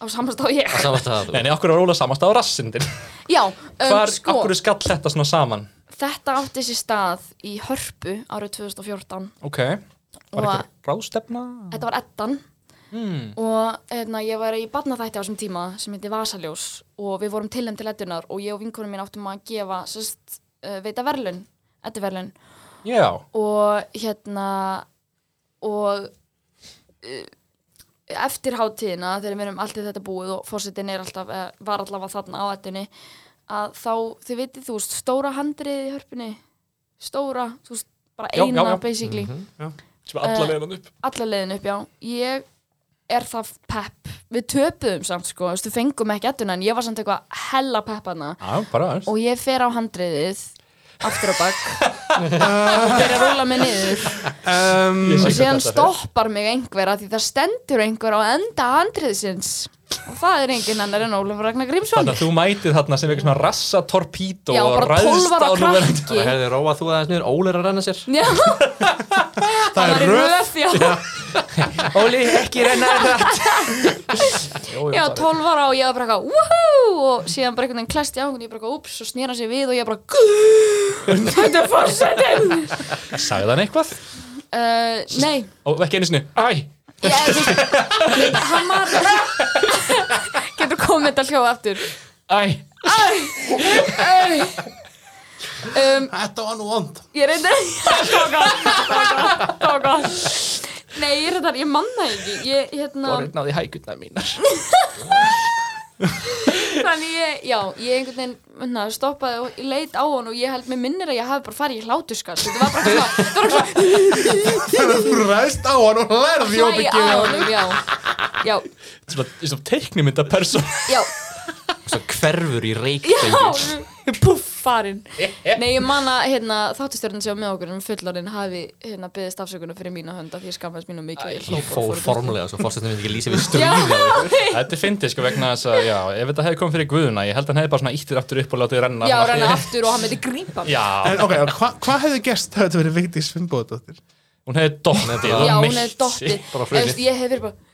Speaker 4: Á samastá ég
Speaker 2: að samastæða
Speaker 1: Nei, nei, okkur var Óla samast á rassindin
Speaker 4: Já, um,
Speaker 1: Hvar,
Speaker 4: sko
Speaker 1: okkur skall þetta svona saman
Speaker 4: Þetta átti sér stað í Hörpu árið 2014
Speaker 1: Ok Var
Speaker 4: Og-
Speaker 1: ekki ráðstefna?
Speaker 4: Þetta var Eddan
Speaker 1: Hmm.
Speaker 4: og eðna, ég var í barnaþætti á þessum tíma sem heiti Vasaljós og við vorum tilnæm til Eddunar og ég og vinkonum mín áttum að gefa sest, uh, veita verlun, Edduverlun
Speaker 1: Já
Speaker 4: og hérna og uh, eftir hátíðina þegar við erum alltaf þetta búið og fórsetin er alltaf, eh, var alltaf þarna á ettunni að þá, þið vitið þú veist, stóra handriðið í hörpunni stóra, þú veist, bara
Speaker 1: Já, já,
Speaker 4: eina
Speaker 1: já. Mhm.
Speaker 4: basically,
Speaker 1: sem alla
Speaker 4: Eh,
Speaker 1: leiðan hann upp
Speaker 4: alla leiðin upp, já ég er það pepp við töpuðum samt, sko, þú veist, við fengum ekki ettuna, en ég var samt eitthvað hella peppana
Speaker 1: Já, bara aðeins
Speaker 4: og ég fer á handriðið aftur á bakk og fyrir að rúla mig niður
Speaker 3: um,
Speaker 4: og síðan stoppar mig einhver að því það stendur einhver á enda handriðsins og það er engin annar en Ólafur Ragnar Grímsson
Speaker 1: Þannig að þú mætið þarna sem eitthvað svona rassa torpító
Speaker 4: Já,
Speaker 1: og
Speaker 4: bara
Speaker 1: ræðst
Speaker 4: 12 ára
Speaker 1: á núverandi
Speaker 4: krakki
Speaker 2: Herði, róa þú aðeins niður, Óli er að renna sér
Speaker 4: Já,
Speaker 3: Það
Speaker 4: var
Speaker 3: er
Speaker 4: í
Speaker 3: röð
Speaker 4: röð, já.
Speaker 1: Óli, ekki renna rætt
Speaker 4: Já, 12 ára og ég var bara eitthvað Woohoo! Og síðan bara einhvern veginn klesti á hún Ég bara eitthvað, ups, og snýra sér við Og ég bara, "Guð, Þetta er fórsetin
Speaker 1: Sagði hann eitthvað?
Speaker 4: uh, Nei,
Speaker 1: Og ekki einu sinni Æ,
Speaker 4: ég er þú veist, Hann var Getur komið þetta hljóð aftur
Speaker 1: æ
Speaker 4: Æ. um,
Speaker 3: Þetta var nú vond
Speaker 4: Ég reyndi Tóka, tóka, tóka Nei, ég reyndar, ég manna ekki Ég, hérna
Speaker 2: Óli náði hægutna mínar
Speaker 4: Þannig ég, já, ég einhvern veginn hérna, stoppaði og ég leit á hann og ég held mér minnir að ég hafi bara farið í hlátuskall Þetta var bara svona, þetta var bara
Speaker 3: Þú ræðst á hann og lærði
Speaker 4: svona hlæja á honum, já Já,
Speaker 1: Svona, svona teiknimynda persón
Speaker 4: já,
Speaker 2: Svo hverfur í reikfengi
Speaker 4: já, puff, farinn Nei, ég man að, hérna, þáttustjörnum sem var með okkur um fullorinn hafi, hérna, byggðist afsökunar fyrir mína hönda því ég skammaðist mínu mikið og ég hló
Speaker 2: Ég
Speaker 4: bara og
Speaker 2: fór
Speaker 4: í burtu.
Speaker 2: formulega, svo fórsetum við ekki lýsa við
Speaker 4: Já,
Speaker 2: stríði
Speaker 1: Þetta er fyndið sko vegna þess að, já, ef þetta hefði komið fyrir guðuna Ég held að hann hefði bara svona íttir aftur upp og látið renna
Speaker 4: já,
Speaker 1: Svona-
Speaker 4: rann aftur og hann myndi grípa mig
Speaker 1: Já,
Speaker 3: En ok, hvað hva hvað hefði gerst þegar þetta verið Vigdís Finnbóðdóttir?
Speaker 1: hún hefði dottið og
Speaker 4: Já, hún
Speaker 1: meitt
Speaker 4: hefði
Speaker 1: sig.
Speaker 4: dottið
Speaker 2: bara
Speaker 4: Ég
Speaker 2: hrunið.
Speaker 4: veist, Ég hef verið bara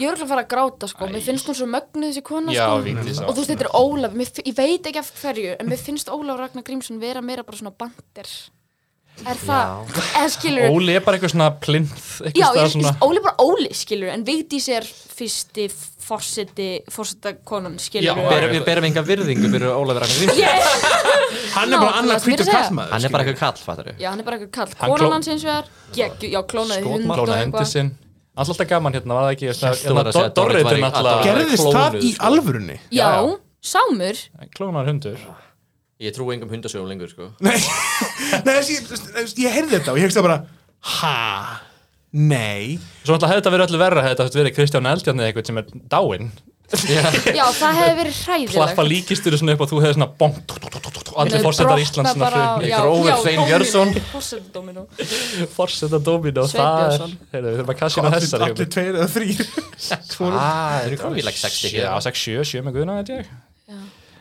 Speaker 4: Ég er örugglega að fara að gráta sko Mér finnst hún svo mögnuð þessi kona
Speaker 1: Já,
Speaker 4: sko
Speaker 1: Vigdís, já.
Speaker 4: Og þú veist, þetta er Ólaf mér, fi- Ég veit ekki af hverju En mér finnst Ólaf Ragnar Grímsson vera meira bara svona bandir Er það? Eða skilur
Speaker 1: Óli er bara eitthvað svona plinth
Speaker 4: Já,
Speaker 1: eitthvað
Speaker 4: ég,
Speaker 1: staðar svona
Speaker 4: Óli er bara Óli skilur En Vigdís er fyrsti forseti Forseta konan skilur
Speaker 1: Já,
Speaker 2: Berum- Við berum enga virðingu fyrir Ólafur Ragnar Grímsson
Speaker 4: yeah.
Speaker 3: Hann er
Speaker 4: Ná,
Speaker 3: bara annar
Speaker 4: þú veist mér
Speaker 3: hvítur
Speaker 4: að segja.
Speaker 3: kallmaður
Speaker 2: Hann er bara eitthvað kall, fattar við
Speaker 4: Já, hann er bara eitthvað kall
Speaker 1: Hann kló-
Speaker 4: Konan hans eins og er Já, klónaði hund og
Speaker 1: Klóna hendi
Speaker 4: eitthvað.
Speaker 1: sinn Alltaf alltaf gaman hérna, var það ekki svona-
Speaker 2: Hélt þú var að segja
Speaker 1: hérna, Dorrit
Speaker 2: Dorrit
Speaker 1: er
Speaker 2: væri- að
Speaker 1: náttúrulega
Speaker 2: Dorrit-
Speaker 3: Gerðist
Speaker 2: Klónuð,
Speaker 3: það í
Speaker 2: sko.
Speaker 3: alvörunni?
Speaker 4: Já,
Speaker 1: Já, já.
Speaker 4: Sámur
Speaker 1: klónar hundur
Speaker 2: Ég trú engum hundasögum lengur, sko
Speaker 3: Nei, nei þessi, þessi, ég heyrði þetta og ég hefði bara Ha? Nei
Speaker 1: Svo náttúrulega hefði þetta verið öllu verra hefði þetta verið Kristján Eldjarni eða eitthvað sem er dáinn
Speaker 4: Já, það hefði verið hræðilegt
Speaker 1: Plaffa líkistur svona upp og þú hefði svona bong tú, tú, tú, tú, tú, Allir
Speaker 4: Nei,
Speaker 1: fórsetar
Speaker 4: brotna
Speaker 1: Íslands svona
Speaker 4: bara-
Speaker 1: hrunni
Speaker 4: já,
Speaker 2: Grófur
Speaker 4: já,
Speaker 2: Svein
Speaker 4: Dominó.
Speaker 2: Björnsson.
Speaker 4: Forsetadóminó.
Speaker 1: Fórseta dóminu og það er
Speaker 4: Sveinbjörnsson.
Speaker 1: Heyrðu, við þurfum að kassi inn á
Speaker 3: Allir,
Speaker 1: þessari
Speaker 3: allir tveir eða þrýr
Speaker 2: Ah, það eru komið í like 60
Speaker 1: Já,
Speaker 2: hér
Speaker 1: 6, 7, 7 með guðna þetta ég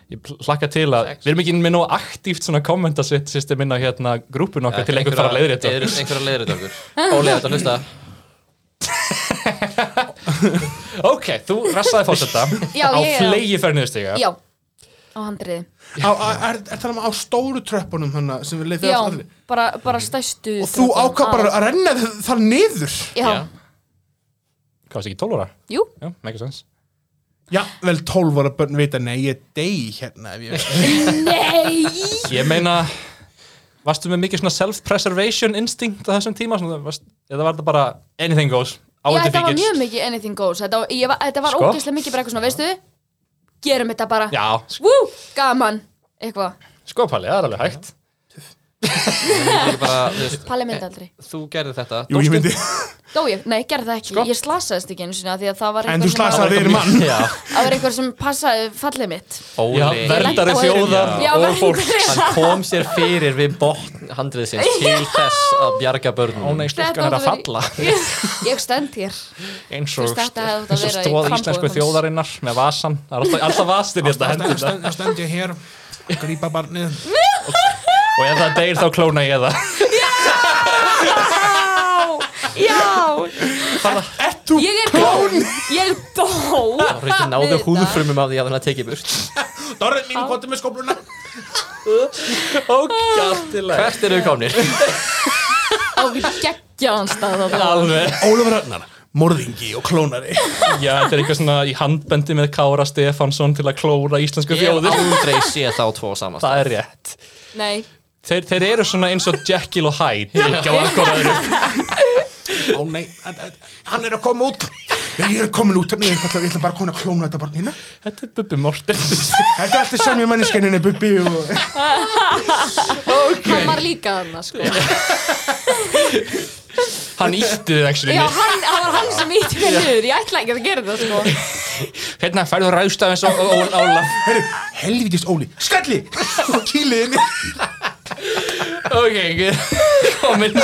Speaker 1: Ég pl- hlakka til að, við erum ekki með nóg aktíft svona kommentasvitt system inn á hérna grúpun okkar til einhver fara að leiðri þetta
Speaker 2: Einhverja leiðir þetta okkur Óli, þetta hlusta
Speaker 1: Ok, þú rassaði fórseta
Speaker 4: Já,
Speaker 1: á
Speaker 4: ég er það.
Speaker 1: flegi fyrir niðurstiga
Speaker 4: Já, á handriði
Speaker 3: á, á, Er, er það á stóru tröppunum hana, sem við leiðum
Speaker 4: Já,
Speaker 3: allir
Speaker 4: bara, bara stæstu
Speaker 3: Og þú
Speaker 4: tröppunum.
Speaker 3: ákvað bara að renna þ- þar niður
Speaker 4: Já,
Speaker 2: Já.
Speaker 1: Hvað varst ekki 12 ára?
Speaker 4: jú
Speaker 1: Já, mega sens
Speaker 3: Já, vel 12 ára börn vita Nei, ég dey hérna ef ég
Speaker 4: Nei
Speaker 1: Ég meina Varstu með mikið svona self-preservation instinct á þessum tíma? Svona, varst, eða var þetta bara anything goes?
Speaker 4: Já,
Speaker 1: Áhætti
Speaker 4: þetta var
Speaker 1: fíkil?
Speaker 4: mjög mikið anything goes Þetta, var- ég var, þetta var
Speaker 1: Sko?
Speaker 4: ógeðslega mikið bara eitthvað svona, veistu Gerum þetta bara
Speaker 1: Já, sk-
Speaker 4: Wú, gaman Eitthvað,
Speaker 1: sko Palli, það er alveg hægt
Speaker 2: Ég bara, þú veist,
Speaker 4: Palli myndi aldrei
Speaker 2: þú gerði þetta
Speaker 3: Jú, ég myndi
Speaker 4: Dó ég, nei, gerði það ekki
Speaker 1: Sko?
Speaker 4: Ég slasaðist ekki einu sinna því að það var
Speaker 3: En þú
Speaker 4: sem-
Speaker 3: slasaði þig mann
Speaker 2: Já,
Speaker 4: Það var einhver sem passaði fallið mitt
Speaker 1: Já,
Speaker 2: Óli
Speaker 1: verndari
Speaker 4: Ég lenti á
Speaker 1: þjóðar
Speaker 4: Já,
Speaker 1: og
Speaker 4: verndari.
Speaker 1: fólk
Speaker 2: Hann kom sér fyrir við botn handrið sinns til þess að bjarga
Speaker 1: Ó
Speaker 2: börnum
Speaker 1: nei, slurkan er að
Speaker 4: átti
Speaker 1: falla
Speaker 4: Ég stend hér
Speaker 1: eins
Speaker 4: Þú
Speaker 1: og,
Speaker 4: veist, þetta
Speaker 1: eins og
Speaker 4: hefði átt að vera í
Speaker 1: stóð
Speaker 4: framboði
Speaker 1: íslensku
Speaker 4: hans.
Speaker 1: þjóðarinnar með vasan Það er alltaf, alltaf vastin í þetta hendur það
Speaker 3: Þá stend ég hér og grípa barnið
Speaker 1: Og ef það deyr þá klóna ég það
Speaker 4: Já,
Speaker 3: Ert þú
Speaker 4: ég er klón Ég dó
Speaker 2: Það er ekki náðu húðfrumum af því að hann að tekið burt
Speaker 3: Dorrit mín, kvotum með skópluna
Speaker 1: Og gættilega
Speaker 2: Hvert eru við komnir?
Speaker 4: Á geggjaðan stað þarna.
Speaker 1: Alveg
Speaker 3: Ólafur Ragnar, morðingi og klónari
Speaker 1: Já, þetta er eitthvað svona í handbendi með Kára Stefánsson til að klóra íslensku
Speaker 2: Ég hef
Speaker 1: þjóðir
Speaker 2: aldrei séð þá tvo saman
Speaker 1: Það er rétt
Speaker 4: Nei,
Speaker 1: Þeir, þeir eru svona eins og Jekyll og Hyde líka á einhver öðru.
Speaker 3: Ó nei, hann er að koma út Já, ég er komin út, hérna, ég ætla, ég ætla bara að koma að klóna þetta bara hérna.
Speaker 1: Þetta er Bubbi Mortens
Speaker 3: Þetta er alltaf sami manneskeninni, Bubbi og...
Speaker 4: Hann var líka þarna, sko.
Speaker 1: Hann ítti þið actually
Speaker 4: Já,
Speaker 1: mér.
Speaker 4: hann, það var hann sem ítti mér niður. Ég ætla ekki að gera það, sko.
Speaker 1: Hérna færðu rástað eins og og- og- Ólaf
Speaker 3: Herru, helvítist Óli, skalli! Og kýlið inn.
Speaker 1: Ok, komin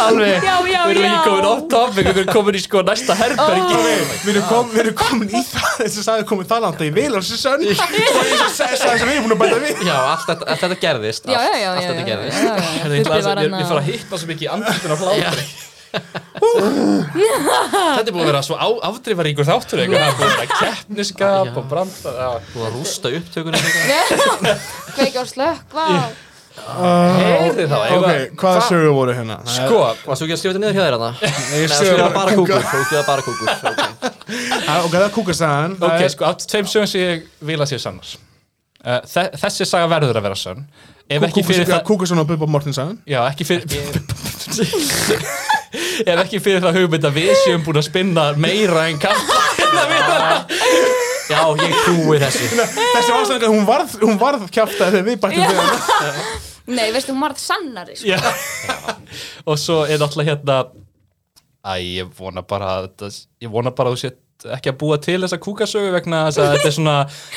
Speaker 1: Alveg
Speaker 4: Já, já,
Speaker 1: Við erum ekki
Speaker 4: já.
Speaker 1: komin off topic Við erum komin í sko næsta herbergi
Speaker 3: Við erum kom, við erum komin í það, þess að sagði komin það landa í vil af sér sönn. Og eins og sagði sem við erum búin að bæta við.
Speaker 2: Já, allt þetta, allt þetta gerðist
Speaker 4: Já, já,
Speaker 2: allt,
Speaker 4: já, já.
Speaker 2: allt þetta
Speaker 4: já,
Speaker 2: gerðist
Speaker 4: já, já, já.
Speaker 1: Hérna, ég ætla
Speaker 4: Bubbi
Speaker 1: að-
Speaker 4: var
Speaker 1: Ég
Speaker 4: hann
Speaker 1: ég
Speaker 4: að-
Speaker 1: fara að hitta svo mikið í andlutun af hlátri Þetta er búin að vera svo á- afdrifaríkur þáttur eitthvað. Það er búin að vera keppniskap
Speaker 2: Já.
Speaker 1: og brandar já.
Speaker 2: Búið að rústa upptökunum
Speaker 4: Kveikja og slökva og...
Speaker 1: Heyrðu þá ef
Speaker 3: Ah, Ok,
Speaker 1: að-
Speaker 3: hvaða sögur voru hérna?
Speaker 1: Sko,
Speaker 2: Varst þú ekki að skrifa þetta niður hjá þér hana?
Speaker 3: Ég
Speaker 2: Nei,
Speaker 3: sögur
Speaker 2: skrifa bara kúkur Þú skrifa bara kúkur ok.
Speaker 3: Ah, Ok, það er kúkastæðan.
Speaker 1: ok, sko, af tveim sögum sem ég vil að séu sannar uh, þe Þessi saga verður að vera sann Ef ekki fyrir það
Speaker 3: Kúkastæðan og Bubba Mortensen.
Speaker 1: Já, ekki fyrir Ef ekki fyrir það hugmynd að við séum búin að spinna meira en kalla
Speaker 2: Já, ég trúi þessu
Speaker 3: Þessi ástæðan, hún varð, hún varð kjafta þegar við bættum við hann.
Speaker 4: Nei, veistu, hún varð sannari, sko.
Speaker 1: Já. Og svo er náttúrulega hérna Æ, ég vona bara að þetta- Ég vona bara að þú sett ekki að búa til þessa kúkasögu vegna þess að þetta er svona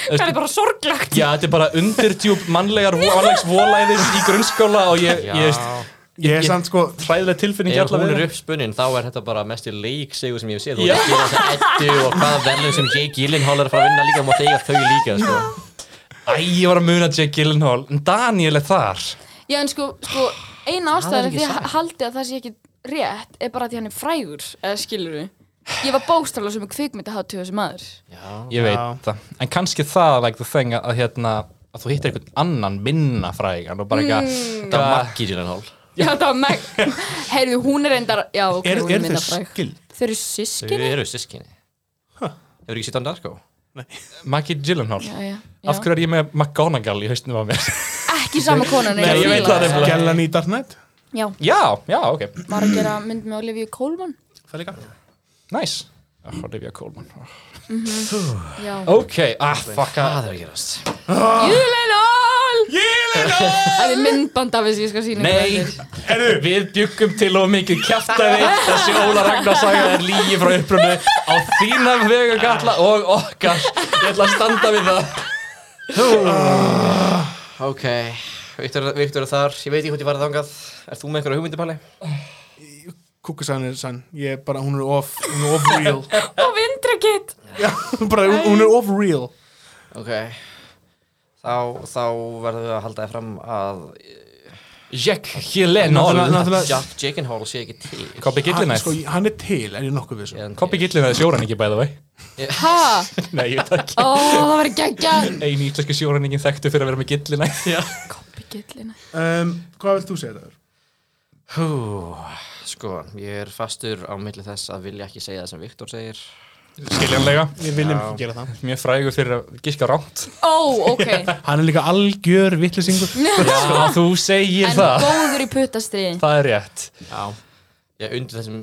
Speaker 4: Það er bara sorglagt.
Speaker 1: Já, þetta er bara undirtjúb mannlegar mannlegs volæðis í grunnskóla og ég,
Speaker 2: Já.
Speaker 1: ég veist
Speaker 3: Ég er samt sko,
Speaker 1: hræðileg tilfinning
Speaker 2: Ef hún
Speaker 1: við
Speaker 2: er
Speaker 1: það.
Speaker 2: uppspunnin, þá er þetta bara mesti leiksegur sem ég hef séð Þú
Speaker 1: Já.
Speaker 2: er að gera þess að eddu og hvaða verðlum sem Jake Gyllenhaal er að fara að vinna líka og mátt eiga þau líka sko.
Speaker 1: Æ, ég var að muna Jake Gyllenhaal En Daniel er þar
Speaker 4: Já, en sko, sko eina
Speaker 2: Það er
Speaker 4: ástæðan
Speaker 2: ekki
Speaker 4: því
Speaker 2: satt.
Speaker 4: að haldi að það sé ekki rétt er bara að því hann er frægur, eða skilur við. Ég var bóstrála sem er kvikmynd að hafa til þessi maður.
Speaker 2: Já,
Speaker 1: Ég veit
Speaker 3: Já.
Speaker 1: það, en kannski það like the thing að, að hérna að þú hittir einhvern annan minna frægan og bara eitthvað
Speaker 2: það var
Speaker 1: mm.
Speaker 2: Maggie Gyllenhaal
Speaker 4: Já, það var meg... Heyrðu, hún er reyndar... Já, ok,
Speaker 3: er,
Speaker 4: hún
Speaker 3: er þeir
Speaker 4: er mynda fræg.
Speaker 3: skild?
Speaker 4: Þau eru
Speaker 2: Þau
Speaker 4: sískinni?
Speaker 2: eru sískinni Hefur ekki sitt á Narko?
Speaker 1: Maggie Gyllenhaal
Speaker 4: Já, já.
Speaker 1: af hverju er ég með McGonagall í hausnum á mér
Speaker 4: Ekki sama konan
Speaker 1: Nei, ég veit það nefnilega.
Speaker 3: Gellan í Dark Knight?
Speaker 4: Já,
Speaker 1: já, já, ok,
Speaker 4: var að gera mynd með Olivia Colman
Speaker 3: Það líka.
Speaker 1: nice oh, Olivia Colman
Speaker 4: Já
Speaker 1: ok, ah, fuck
Speaker 2: Hvað
Speaker 1: að
Speaker 2: er að gerast?
Speaker 4: Júlenól
Speaker 1: Gyllenhaal
Speaker 4: Það er myndband af þessi, ég skal sína
Speaker 1: Nei, við byggum til og mikið kjaftaði þessi Óla Ragnarsaga er lígi frá upprunnu á þína vegu galla og okkar ég ætla að standa við það
Speaker 2: Ah. Ok, Viktor, Viktor er þar, ég veit ekki hvort ég var að þangað Er þú með einhverja hugmyndi, Palli?
Speaker 3: Kúkastæðan er sann. Ég er bara, hún er off, hún er off real.
Speaker 4: Og vindrakett
Speaker 3: Já, bara, hún- hún er off real.
Speaker 2: Ok Þá, þá verðum við að halda þér fram að
Speaker 1: Jack Gyllenhaal
Speaker 3: Náttúrulega-
Speaker 2: Jack Gyllenhaal sé ekki til
Speaker 1: Kopi
Speaker 3: Hann,
Speaker 1: Gyllenhaal
Speaker 3: sko, hann er til, er ég nokkuð um. við svo.
Speaker 2: En-
Speaker 1: Kopi Gyllenhaal er sjóræningin by the way
Speaker 4: Ha?
Speaker 1: Nei, ég veit ekki
Speaker 4: Ó, það var geggja
Speaker 1: Einu íslenski sjóræningin þekktu fyrir að vera með gillina Já,
Speaker 4: Koppi gillina
Speaker 3: Um, hvað vilt þú segja þetta?
Speaker 2: Hú, sko, ég er fastur á milli þess að vilja ekki segja það sem Viktor segir
Speaker 1: skiljanlega
Speaker 3: Við viljum ekki gera það.
Speaker 1: Mjög frægur fyrir að giska rámt
Speaker 4: Ó, ok
Speaker 3: Hann er líka algjör vittlisingur.
Speaker 1: Sko, þú segir
Speaker 4: En
Speaker 1: það
Speaker 4: góður í puttastriði
Speaker 1: Það er rétt
Speaker 2: Já Ég undir þessum,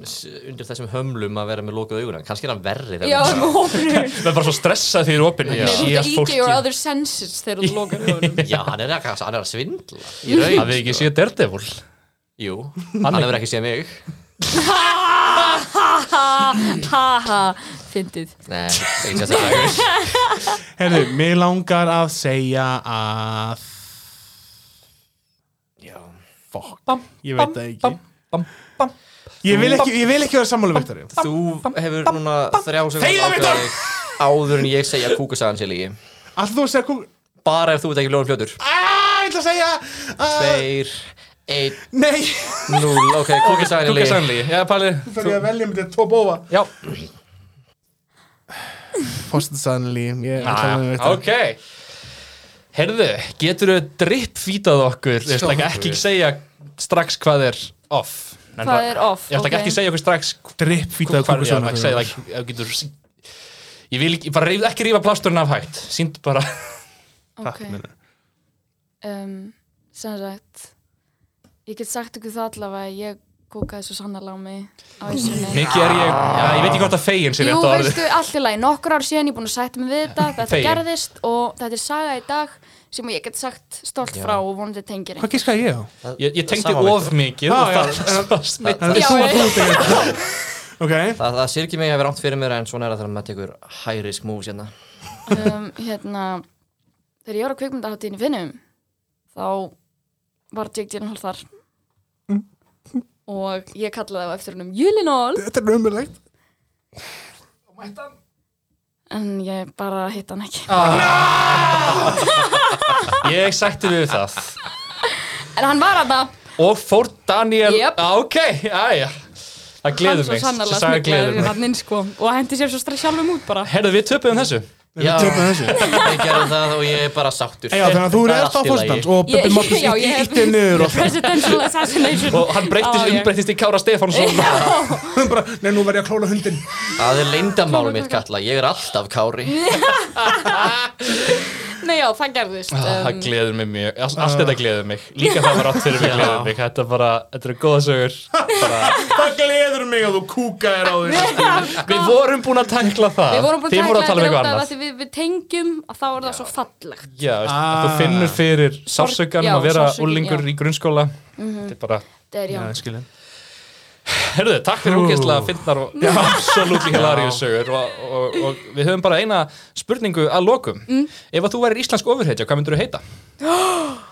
Speaker 2: undir þessessum hömlum að vera með lokað augunum Kannski er hann verri þegar
Speaker 4: Já,
Speaker 2: maður-
Speaker 4: með hófnur
Speaker 1: Það er bara svo stressað því þú er opinn
Speaker 4: Nei, þú ert að íkja your other senses þegar þú lokar hugunum
Speaker 2: Já, hann er, að- hann er að svindla Í raun
Speaker 1: Hafið þið ekki séð Daredevil
Speaker 2: Jú, hann hefur ekki séð mig
Speaker 4: Ha ha, fyndið
Speaker 2: Nei, ekki séð það
Speaker 3: Herðu, mér langar að segja að...
Speaker 2: Já,
Speaker 3: Fuck.
Speaker 1: Bam,
Speaker 3: Ég veit það ekki.
Speaker 1: bam, bam.
Speaker 3: Ég vil ekki, ég vil ekki vera sammála Viktori.
Speaker 2: Þú hefur núna þrjá sem
Speaker 3: Þegiðu, Viktor!
Speaker 2: áður en ég segja kúkusagan sé líki
Speaker 3: Alltaf þú að segja kúk...
Speaker 2: Bara ef þú ert ekki ljóðum fljótur
Speaker 3: Ah, ég ætla að segja... Uh,
Speaker 2: Tveir, einn,
Speaker 3: nei,
Speaker 2: núl, ok, kúkusagan er
Speaker 1: Kúka
Speaker 2: líki
Speaker 1: sannlega Já, Palli
Speaker 3: það er ég að velja með þetta tvo bóa.
Speaker 1: Já,
Speaker 3: Postið sannlí, ég ætla að
Speaker 1: Ah,
Speaker 3: vera
Speaker 1: ok Herðu, getur þau drippfítað okkur Ég ætla ekki að segja strax hvað er off En
Speaker 4: Hvað
Speaker 1: það-
Speaker 4: er off,
Speaker 1: Ég ætla
Speaker 4: ok.
Speaker 1: ekki að segja okkur strax
Speaker 3: Dripp fýtaðu
Speaker 1: hvað er
Speaker 3: kúkastæðan.
Speaker 1: að segja like, ef getur, Ég vil ekki, bara reyf, ekki rífa plásturinn af hægt Sýndu bara
Speaker 4: Ok um, Sem sagt Ég get sagt ykkur það allavega að Ég kúkaði svo sannarlega á mig á Ísunni
Speaker 1: Mikið er ég, já, ég veit ekki hvort að fegin sér
Speaker 4: Jú,
Speaker 1: rétt á orðið.
Speaker 4: veistu, allt í lagi, nokkur ár síðan ég er búin að sætta mig við þetta, þetta
Speaker 1: Fegin.
Speaker 4: gerðist og þetta er saga í dag sem ég get sagt stolt frá og vonandi tengir
Speaker 3: Hvað gískaði ég á?
Speaker 1: Ég, ég tengdi
Speaker 2: Sama við
Speaker 1: of
Speaker 2: þetta.
Speaker 1: mikið
Speaker 3: Já,
Speaker 1: og
Speaker 3: já,
Speaker 1: það spast mig.
Speaker 3: Það er
Speaker 4: Já,
Speaker 3: þú
Speaker 4: já.
Speaker 3: að þú þegar Ok,
Speaker 2: Það, það syrgir mig að vera átt fyrir mér en svona er það þegar maður tekur high risk moves hérna.
Speaker 4: um, hérna, þegar ég var á kvikmyndaháttíðin í Finnum þá var Jake Gyllenhaal þar
Speaker 3: Mm.
Speaker 4: og ég kallaði á eftir húnum Gyllenhaal
Speaker 3: þetta er umurlegt
Speaker 4: en ég bara hitt hann ekki
Speaker 1: Ég sætti við það.
Speaker 4: en hann var að það
Speaker 1: Og fór Daniel,
Speaker 4: Jep.
Speaker 1: á, ok, aðja. Það
Speaker 4: hann
Speaker 1: gleður
Speaker 4: svo
Speaker 1: mig,
Speaker 4: sannarlega
Speaker 1: þessi saga gleður
Speaker 4: smiklaði
Speaker 1: mig.
Speaker 4: hann inn sko og hendi sér svo strax sjálfum út bara
Speaker 1: Herðu, við töpuðum þessu.
Speaker 2: Já.
Speaker 3: Við tökum þessu
Speaker 2: Ég gerði það og ég er bara sáttur.
Speaker 3: Já, þannig að þú
Speaker 2: Það
Speaker 3: eru
Speaker 2: er
Speaker 3: eftir á
Speaker 2: allt í lagi.
Speaker 3: fórstans og Bubbi Mortens
Speaker 4: já, ég hef-
Speaker 3: ítti niður og
Speaker 4: presidential assassination
Speaker 1: Og hann um breyttist,
Speaker 4: Já, ég-
Speaker 1: umbreyttist í Kára Stefánsson.
Speaker 3: bara, nei, nú verð ég að klóla hundin
Speaker 2: Það er leyndamálum mitt kalla, ég er alltaf kári.
Speaker 4: Nei, já, það gerðist
Speaker 1: Ah,
Speaker 4: um,
Speaker 1: Það gleður mig mjög, allt, allt þetta gleður mig Líka það var átt fyrir mig gleður mig Þetta bara, þetta eru góða sögur
Speaker 3: Það gleður mig að þú kúka er á því
Speaker 1: Við vorum búin að tangla það
Speaker 4: Við vorum búin
Speaker 1: Þið
Speaker 4: að
Speaker 1: voru að
Speaker 4: tækla
Speaker 1: tala um
Speaker 4: þetta
Speaker 1: eitthvað
Speaker 4: út af
Speaker 1: annað
Speaker 4: því við, við tengjum að þá er það svo fallegt
Speaker 1: Já, veist, að
Speaker 3: Ah.
Speaker 1: þú finnur fyrir
Speaker 4: já,
Speaker 1: sársökanum að vera
Speaker 4: sársaukinn,
Speaker 1: úlingur
Speaker 4: já. Mhm.
Speaker 1: í grunnskóla Þetta er bara,
Speaker 4: Það er já,
Speaker 3: skilja
Speaker 1: herðu, takk fyrir ógeðslega fyndnar og absolutt hilarjus sögur og, og, og við höfum bara eina spurningu að lokum
Speaker 4: Mm.
Speaker 1: Ef að þú værir íslensk ofurheitja, hvað myndur þú heita?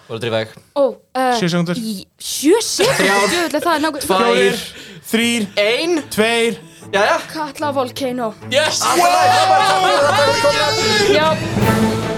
Speaker 2: Voru drifæg.
Speaker 4: Ó, uh,
Speaker 3: Sjö sekundur
Speaker 4: í- Sjö sekundur djöfull, Það er nákvæm
Speaker 2: Tvær.
Speaker 3: Fjórir, þrýr,
Speaker 2: Ein.
Speaker 3: tveir
Speaker 2: Jæja.
Speaker 4: Katla Volcano
Speaker 1: Yes!
Speaker 4: Já